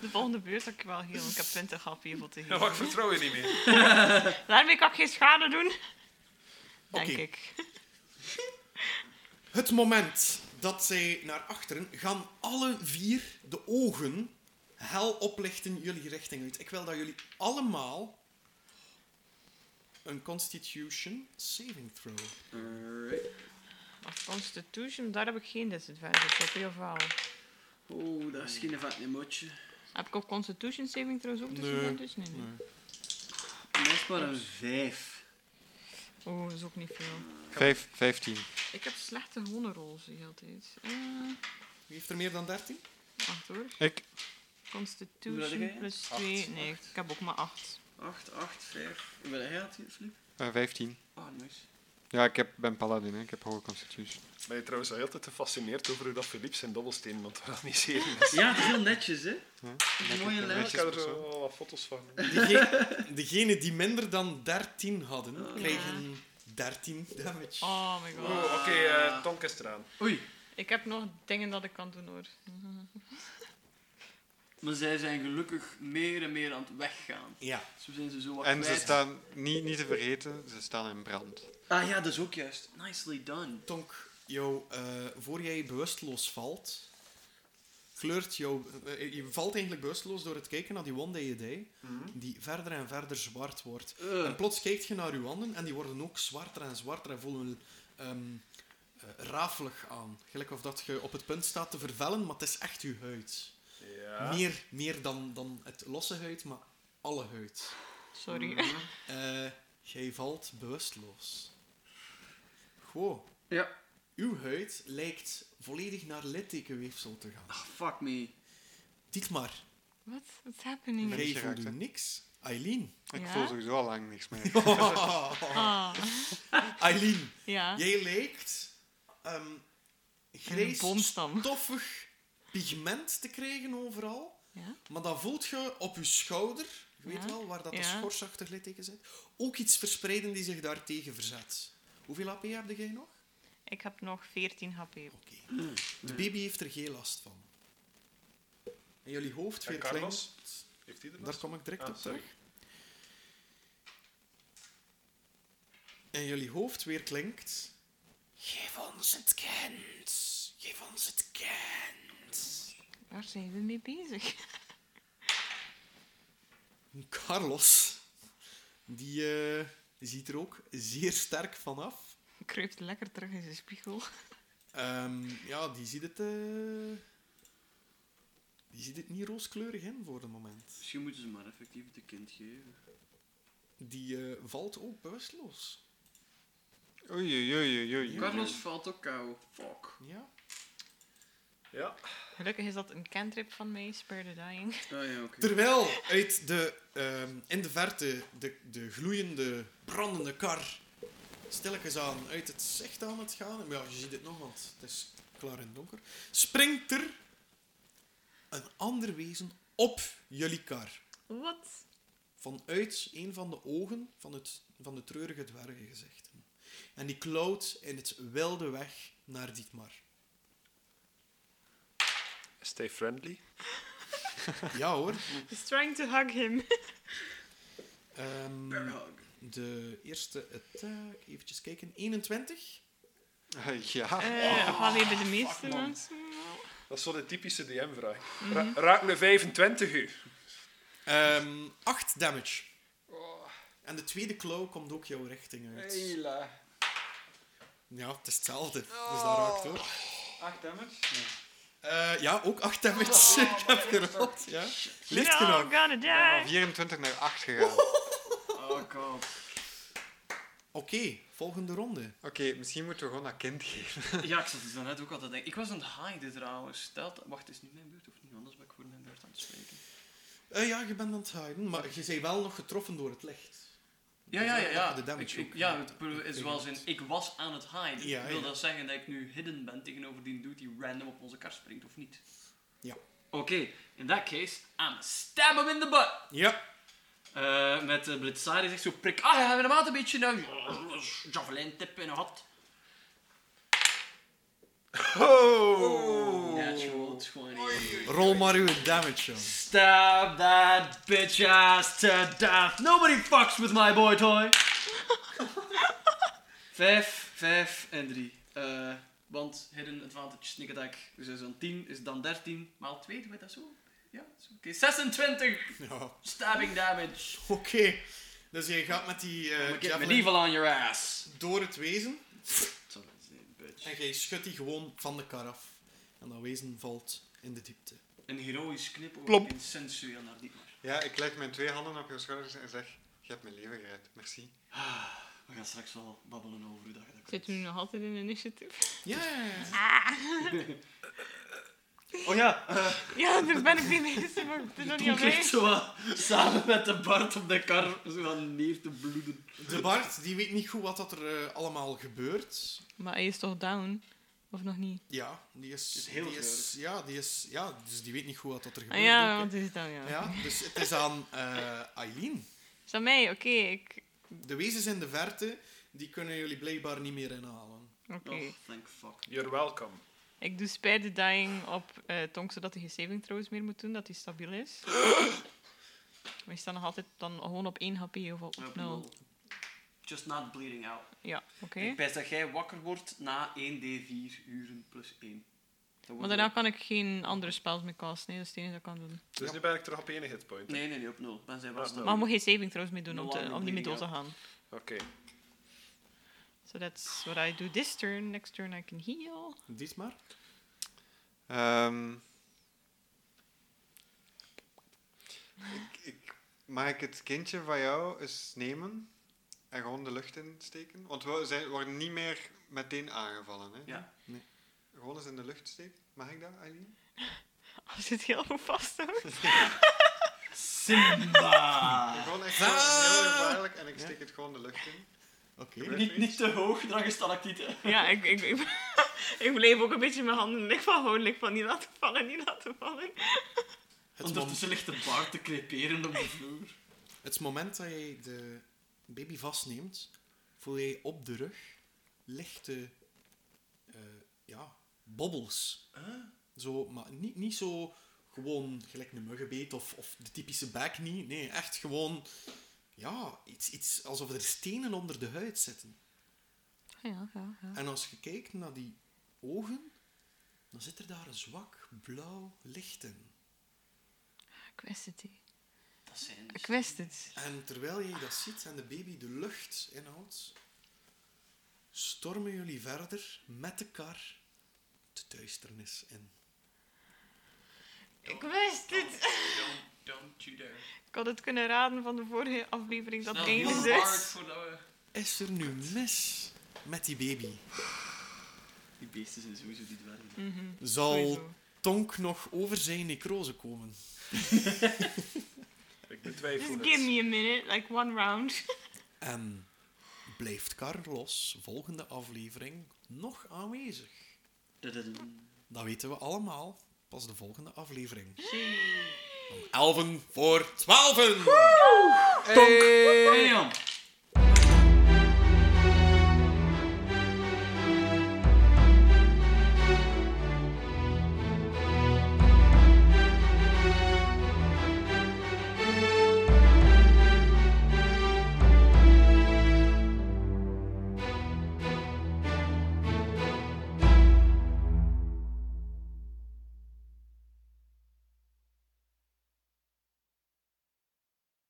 [SPEAKER 5] De volgende beurt heb ik wel heel. Ik heb 20 HP hiervoor te
[SPEAKER 1] Ja, maar ik
[SPEAKER 5] geven.
[SPEAKER 1] vertrouw je niet meer.
[SPEAKER 5] Daarmee kan ik geen schade doen. Denk
[SPEAKER 4] Oké.
[SPEAKER 5] ik.
[SPEAKER 4] Het moment dat zij naar achteren gaan alle vier de ogen hel oplichten jullie richting uit. Ik wil dat jullie allemaal een Constitution saving throw.
[SPEAKER 2] Alright.
[SPEAKER 5] Maar Constitution, daar heb ik geen disadvantage op, of wel?
[SPEAKER 2] Oeh, Oh, dat is geen vat emotje.
[SPEAKER 5] Heb ik op Constitution saving trouwens ook tussen
[SPEAKER 4] Nee.
[SPEAKER 5] nee. dus? Nee, nee.
[SPEAKER 2] Dat is maar een vijf.
[SPEAKER 5] Oh, dat is ook niet veel.
[SPEAKER 3] Vijf, vijftien.
[SPEAKER 5] Ik heb slechte gewone rolls de hele tijd. Eh,
[SPEAKER 4] Wie heeft er meer dan 13?
[SPEAKER 5] wacht hoor.
[SPEAKER 3] Ik.
[SPEAKER 2] Hoeveel heb
[SPEAKER 5] Constitution
[SPEAKER 2] jij?
[SPEAKER 5] plus
[SPEAKER 2] Acht.
[SPEAKER 5] 2. Nee, ik heb ook maar 8.
[SPEAKER 2] Acht, acht, vijf. Hoeveel heb jij had hier, Filip?
[SPEAKER 3] Eh, vijftien.
[SPEAKER 2] Ah, nice.
[SPEAKER 3] Ja, ik heb, ben paladin, hè. ik heb hoge constitution.
[SPEAKER 1] Ben je trouwens heel te gefascineerd over hoe dat Philippe zijn dobbelsteen want dat niet zien is?
[SPEAKER 2] Ja, heel netjes, hè? Mooie lijn.
[SPEAKER 1] Ik heb er zo wel wat foto's van.
[SPEAKER 4] Dege- Degene die minder dan 13 hadden,
[SPEAKER 2] Ja.
[SPEAKER 4] kregen 13 damage.
[SPEAKER 5] Oh my god.
[SPEAKER 1] Oh, Oké, eh, Tonk is eraan.
[SPEAKER 2] Oei,
[SPEAKER 5] Ik heb nog dingen dat ik kan doen hoor.
[SPEAKER 2] maar zij zijn gelukkig meer en meer aan het weggaan.
[SPEAKER 4] Ja.
[SPEAKER 2] Zo zijn ze zo wat
[SPEAKER 3] En ze
[SPEAKER 2] kwijt.
[SPEAKER 3] staan, niet, niet te vergeten, ze staan in brand.
[SPEAKER 2] Ah ja, dat is ook juist. Nicely done.
[SPEAKER 4] Tonk, jou, eh, voor jij bewusteloos valt, kleurt jou... eh, je valt eigenlijk bewusteloos door het kijken naar die One Day a Day, die verder en verder zwart wordt.
[SPEAKER 2] Eh.
[SPEAKER 4] En plots kijkt je naar je handen en die worden ook zwarter en zwarter en voelen ehm eh, rafelig aan. Gelijk of dat je op het punt staat te vervellen, maar het is echt je huid.
[SPEAKER 1] Ja.
[SPEAKER 4] Meer, meer dan, dan het losse huid, maar alle huid.
[SPEAKER 5] Sorry.
[SPEAKER 2] Mm.
[SPEAKER 4] Eh, jij valt bewusteloos. Goh.
[SPEAKER 2] Ja.
[SPEAKER 4] Uw huid lijkt volledig naar littekenweefsel te gaan.
[SPEAKER 2] Ah, fuck me.
[SPEAKER 4] Dietmar,
[SPEAKER 5] Wat? What's happening?
[SPEAKER 3] Ben Nee. ik
[SPEAKER 4] jij
[SPEAKER 3] geraakt,
[SPEAKER 4] voelde
[SPEAKER 3] hè?
[SPEAKER 4] niks. Eileen.
[SPEAKER 3] Ik
[SPEAKER 5] Ja?
[SPEAKER 3] voel sowieso al lang niks meer.
[SPEAKER 5] Ah,
[SPEAKER 4] Eileen,
[SPEAKER 5] ja.
[SPEAKER 4] jij lijkt ehm
[SPEAKER 5] Een
[SPEAKER 4] grijs,
[SPEAKER 5] boomstam.
[SPEAKER 4] stoffig pigment te krijgen overal.
[SPEAKER 5] Ja?
[SPEAKER 4] Maar dan voelt je op je schouder, je weet
[SPEAKER 5] Ja.
[SPEAKER 4] wel, waar dat de
[SPEAKER 5] Ja.
[SPEAKER 4] schorsachtig litteken zit, ook iets verspreiden die zich daartegen verzet. Hoeveel AP heb jij nog?
[SPEAKER 5] Ik heb nog 14 HP.
[SPEAKER 4] Oké. De baby heeft er geen last van. En jullie hoofd
[SPEAKER 1] En
[SPEAKER 4] weer klein.
[SPEAKER 1] Carlos? Heeft hij er
[SPEAKER 4] Daar kom ik direct
[SPEAKER 1] Ah,
[SPEAKER 4] op
[SPEAKER 1] sorry.
[SPEAKER 4] terug. En jullie hoofd weer klinkt. Geef ons het kind. Geef ons het kind.
[SPEAKER 5] Waar zijn we mee bezig?
[SPEAKER 4] Carlos, die eh, ziet er ook zeer sterk vanaf.
[SPEAKER 5] Kruipt lekker terug in zijn spiegel.
[SPEAKER 4] Ehm, ja, die ziet het. eh, die ziet het niet rooskleurig in voor het moment.
[SPEAKER 2] Misschien moeten ze maar effectief het kind geven.
[SPEAKER 4] Die eh, valt ook bewusteloos.
[SPEAKER 3] Oei, oei, oei, oei, oei.
[SPEAKER 2] Carlos valt ook kou. Fuck.
[SPEAKER 4] Ja.
[SPEAKER 1] Ja.
[SPEAKER 5] Gelukkig is dat een cantrip van mij, Spare the Dying.
[SPEAKER 2] Ah ja, oké.
[SPEAKER 4] Terwijl uit de, ehm, in de verte de, de gloeiende, brandende kar stilletjes aan uit het zicht aan het gaan. Maar ja, je ziet het nog, want het is klaar en donker. Springt er een ander wezen op jullie kar.
[SPEAKER 5] Wat?
[SPEAKER 4] Vanuit een van de ogen van, het, van de treurige dwergengezichten. En die klauwt in het wilde weg naar Dietmar.
[SPEAKER 1] Stay friendly.
[SPEAKER 4] Ja hoor.
[SPEAKER 5] He's trying to hug him.
[SPEAKER 4] Ehm, de eerste attack, eventjes kijken. 21.
[SPEAKER 3] ja.
[SPEAKER 2] Oh,
[SPEAKER 5] Eh, Wanneer bij de meeste mensen.
[SPEAKER 1] Dat is zo'n typische DM-vraag. raak me 25 uur.
[SPEAKER 4] Ehm 8 damage. En de tweede klauw komt ook jouw richting uit.
[SPEAKER 3] Hela.
[SPEAKER 4] Ja, het is hetzelfde. Dus dat raakt hoor.
[SPEAKER 3] 8 damage? Nee.
[SPEAKER 4] Eh, ja, ook 8 damage. Ik heb gerold. Ja. Licht genoeg.
[SPEAKER 5] You're gonna
[SPEAKER 3] Van
[SPEAKER 5] die.
[SPEAKER 3] 24 naar 8 gegaan.
[SPEAKER 2] Oh god.
[SPEAKER 4] Oké, volgende ronde.
[SPEAKER 3] Oké, misschien moeten we gewoon dat kind geven.
[SPEAKER 2] Ja, ik zat het net ook al te denken. Ik was aan het haaien trouwens. Stel dat- Wacht, is nu mijn beurt of niet? Anders ben ik voor mijn beurt aan het spreken.
[SPEAKER 4] Eh, ja, je bent aan het huiden, maar je bent wel nog getroffen door het licht.
[SPEAKER 2] Ja, ja, ja.
[SPEAKER 4] ook
[SPEAKER 2] ja.
[SPEAKER 4] de damage
[SPEAKER 2] ik, ik-
[SPEAKER 4] ook,
[SPEAKER 2] ja,
[SPEAKER 4] ja.
[SPEAKER 2] het pro- is wel zin. Ik was aan het haaien.
[SPEAKER 4] Ja,
[SPEAKER 2] Wil
[SPEAKER 4] ja.
[SPEAKER 2] dat zeggen dat ik nu hidden ben tegenover die dude die random op onze kar springt of niet?
[SPEAKER 4] Ja.
[SPEAKER 2] Oké, in that case, I'm stab him in the butt.
[SPEAKER 4] Ja.
[SPEAKER 2] Eh, met uh, Blitzari zegt zo prik. Ah, ja, inderdaad een beetje een javelin tip in een hat. Oh! Natural 20.
[SPEAKER 4] Rol maar uw damage, jong.
[SPEAKER 2] Stab that bitch ass to death. Nobody fucks with my boy toy. vijf, vijf en drie. Eh, want hidden advantage sneak attack. Dus dat is dan 10, is dan 13. Maal 2, doe je dat zo? Ja, dat is oké. 26
[SPEAKER 4] Ja.
[SPEAKER 2] stabbing damage.
[SPEAKER 4] Oké. Dus je gaat met die eh,
[SPEAKER 2] I'm gonna get
[SPEAKER 4] javelin
[SPEAKER 2] medieval on your ass.
[SPEAKER 4] door het wezen
[SPEAKER 2] Sorry, bitch.
[SPEAKER 4] en jij schudt die gewoon van de kar af. En dat wezen valt in de diepte.
[SPEAKER 2] Een heroïsch knipoog
[SPEAKER 4] Plop.
[SPEAKER 2] en sensueel naar die maar.
[SPEAKER 3] Ja, ik leg mijn twee handen op jouw schouders en zeg... Je hebt mijn leven gered, merci.
[SPEAKER 2] We gaan straks wel babbelen over hoe dat je dat kunt.
[SPEAKER 5] Zitten we nu nog altijd in initiatief?
[SPEAKER 4] Ja.
[SPEAKER 2] Oh ja, eh,
[SPEAKER 5] Ja, daar ben ik niet mee. Maar het is nog niet
[SPEAKER 2] Toen
[SPEAKER 5] aan
[SPEAKER 2] kreeg
[SPEAKER 5] mij.
[SPEAKER 2] zo wat samen met de Bart op de kar zo van neer te bloeden.
[SPEAKER 4] De Bart, die weet niet goed wat dat er eh, allemaal gebeurt.
[SPEAKER 5] Maar hij is toch down? Of nog niet?
[SPEAKER 4] Ja, die is...
[SPEAKER 2] is heel
[SPEAKER 4] die is, ja, die is... Ja, dus die weet niet goed wat dat er
[SPEAKER 5] Ah
[SPEAKER 4] gebeurt.
[SPEAKER 5] ja,
[SPEAKER 4] ook,
[SPEAKER 5] want
[SPEAKER 4] hè.
[SPEAKER 5] het is down, ja.
[SPEAKER 4] ja, dus het is aan eh, Eileen.
[SPEAKER 5] Is dat mij? Oké, ik...
[SPEAKER 4] De wezens in de verte, die kunnen jullie blijkbaar niet meer inhalen.
[SPEAKER 5] Oké.
[SPEAKER 2] Oh, thank fuck.
[SPEAKER 1] You're welcome.
[SPEAKER 5] Ik doe spare the dying op eh Tonk, zodat hij geen saving throws meer moet doen, dat hij stabiel is. Maar je staat nog altijd dan gewoon op 1 HP of op
[SPEAKER 2] Op
[SPEAKER 5] 0.
[SPEAKER 2] nul. Just not bleeding out.
[SPEAKER 5] Ja, oké.
[SPEAKER 2] Ik pijs dat jij wakker wordt na 1d4 uren plus 1.
[SPEAKER 5] Maar daarna kan ik geen andere spells meer casten, nee, dat is het enige dat ik kan doen.
[SPEAKER 1] Dus nu ben ik terug op één hitpoint. hè?
[SPEAKER 2] Nee, nee, nee, op 0. Dan zijn we
[SPEAKER 1] Ah,
[SPEAKER 2] snel.
[SPEAKER 5] Maar ik moet geen saving throws meer doen om,
[SPEAKER 2] No
[SPEAKER 5] te,
[SPEAKER 2] longer
[SPEAKER 5] om niet meer dood te
[SPEAKER 2] bleeding
[SPEAKER 5] gaan.
[SPEAKER 1] Oké.
[SPEAKER 5] So that's what I do this turn. Next turn I can heal.
[SPEAKER 4] Dit maar.
[SPEAKER 3] Ehm ik, ik, mag ik het kindje van jou eens nemen en gewoon de lucht insteken? Want we zijn, worden niet meer meteen aangevallen. Hè?
[SPEAKER 2] Ja.
[SPEAKER 3] Gewoon eens in de lucht steken. Mag ik dat, Aileen?
[SPEAKER 5] Als het heel goed vasthoudt.
[SPEAKER 2] Simba!
[SPEAKER 3] Gewoon echt heel, heel gevaarlijk en ik steek het gewoon de lucht in.
[SPEAKER 4] Oké.
[SPEAKER 3] Gebeurt
[SPEAKER 2] Ah. niet,
[SPEAKER 3] niks.
[SPEAKER 2] niet te hoog, dan gestalactieten.
[SPEAKER 5] Ja, ik, ik, ik, ik bleef ook een beetje in mijn handen. Ik van gewoon, ik van niet laten vallen, niet laten vallen.
[SPEAKER 4] Het, mom-
[SPEAKER 2] Ondertussen ligt de Bart te creperen op de vloer.
[SPEAKER 4] het moment dat jij de baby vastneemt, voel jij op de rug lichte eh, ja, bobbels. Zo, maar niet, niet zo gewoon gelijk een muggenbeet of, of de typische back niet. Nee, echt gewoon ja, iets, iets alsof er stenen onder de huid zitten.
[SPEAKER 5] Ja, ja, ja.
[SPEAKER 4] En als je kijkt naar die ogen, dan zit er daar een zwak blauw licht in.
[SPEAKER 5] Ik wist het. hè.
[SPEAKER 2] Dat zijn
[SPEAKER 5] Ik wist het.
[SPEAKER 4] En terwijl jij dat ziet en de baby de lucht inhoudt, stormen jullie verder met de kar de duisternis in.
[SPEAKER 5] Ik wist het.
[SPEAKER 2] Don't, don't you dare.
[SPEAKER 5] Ik had het kunnen raden van de vorige aflevering dat
[SPEAKER 2] Snel,
[SPEAKER 5] er
[SPEAKER 2] heel
[SPEAKER 5] eigenlijk
[SPEAKER 2] hard
[SPEAKER 5] dus.
[SPEAKER 2] voordat we...
[SPEAKER 4] Is er nu mis met die baby?
[SPEAKER 2] Die beesten zijn sowieso die dwergen.
[SPEAKER 4] Zal
[SPEAKER 5] Sowieso.
[SPEAKER 4] Tonk nog over zijn necrose komen?
[SPEAKER 1] Ik betwijfel
[SPEAKER 5] Just
[SPEAKER 1] het.
[SPEAKER 5] give me a minute, like one round.
[SPEAKER 4] En blijft Carlos volgende aflevering nog aanwezig?
[SPEAKER 2] Dadadum.
[SPEAKER 4] Dat weten we allemaal. Pas de volgende aflevering. Om elven voor twaalfen!
[SPEAKER 2] Hey, Jan.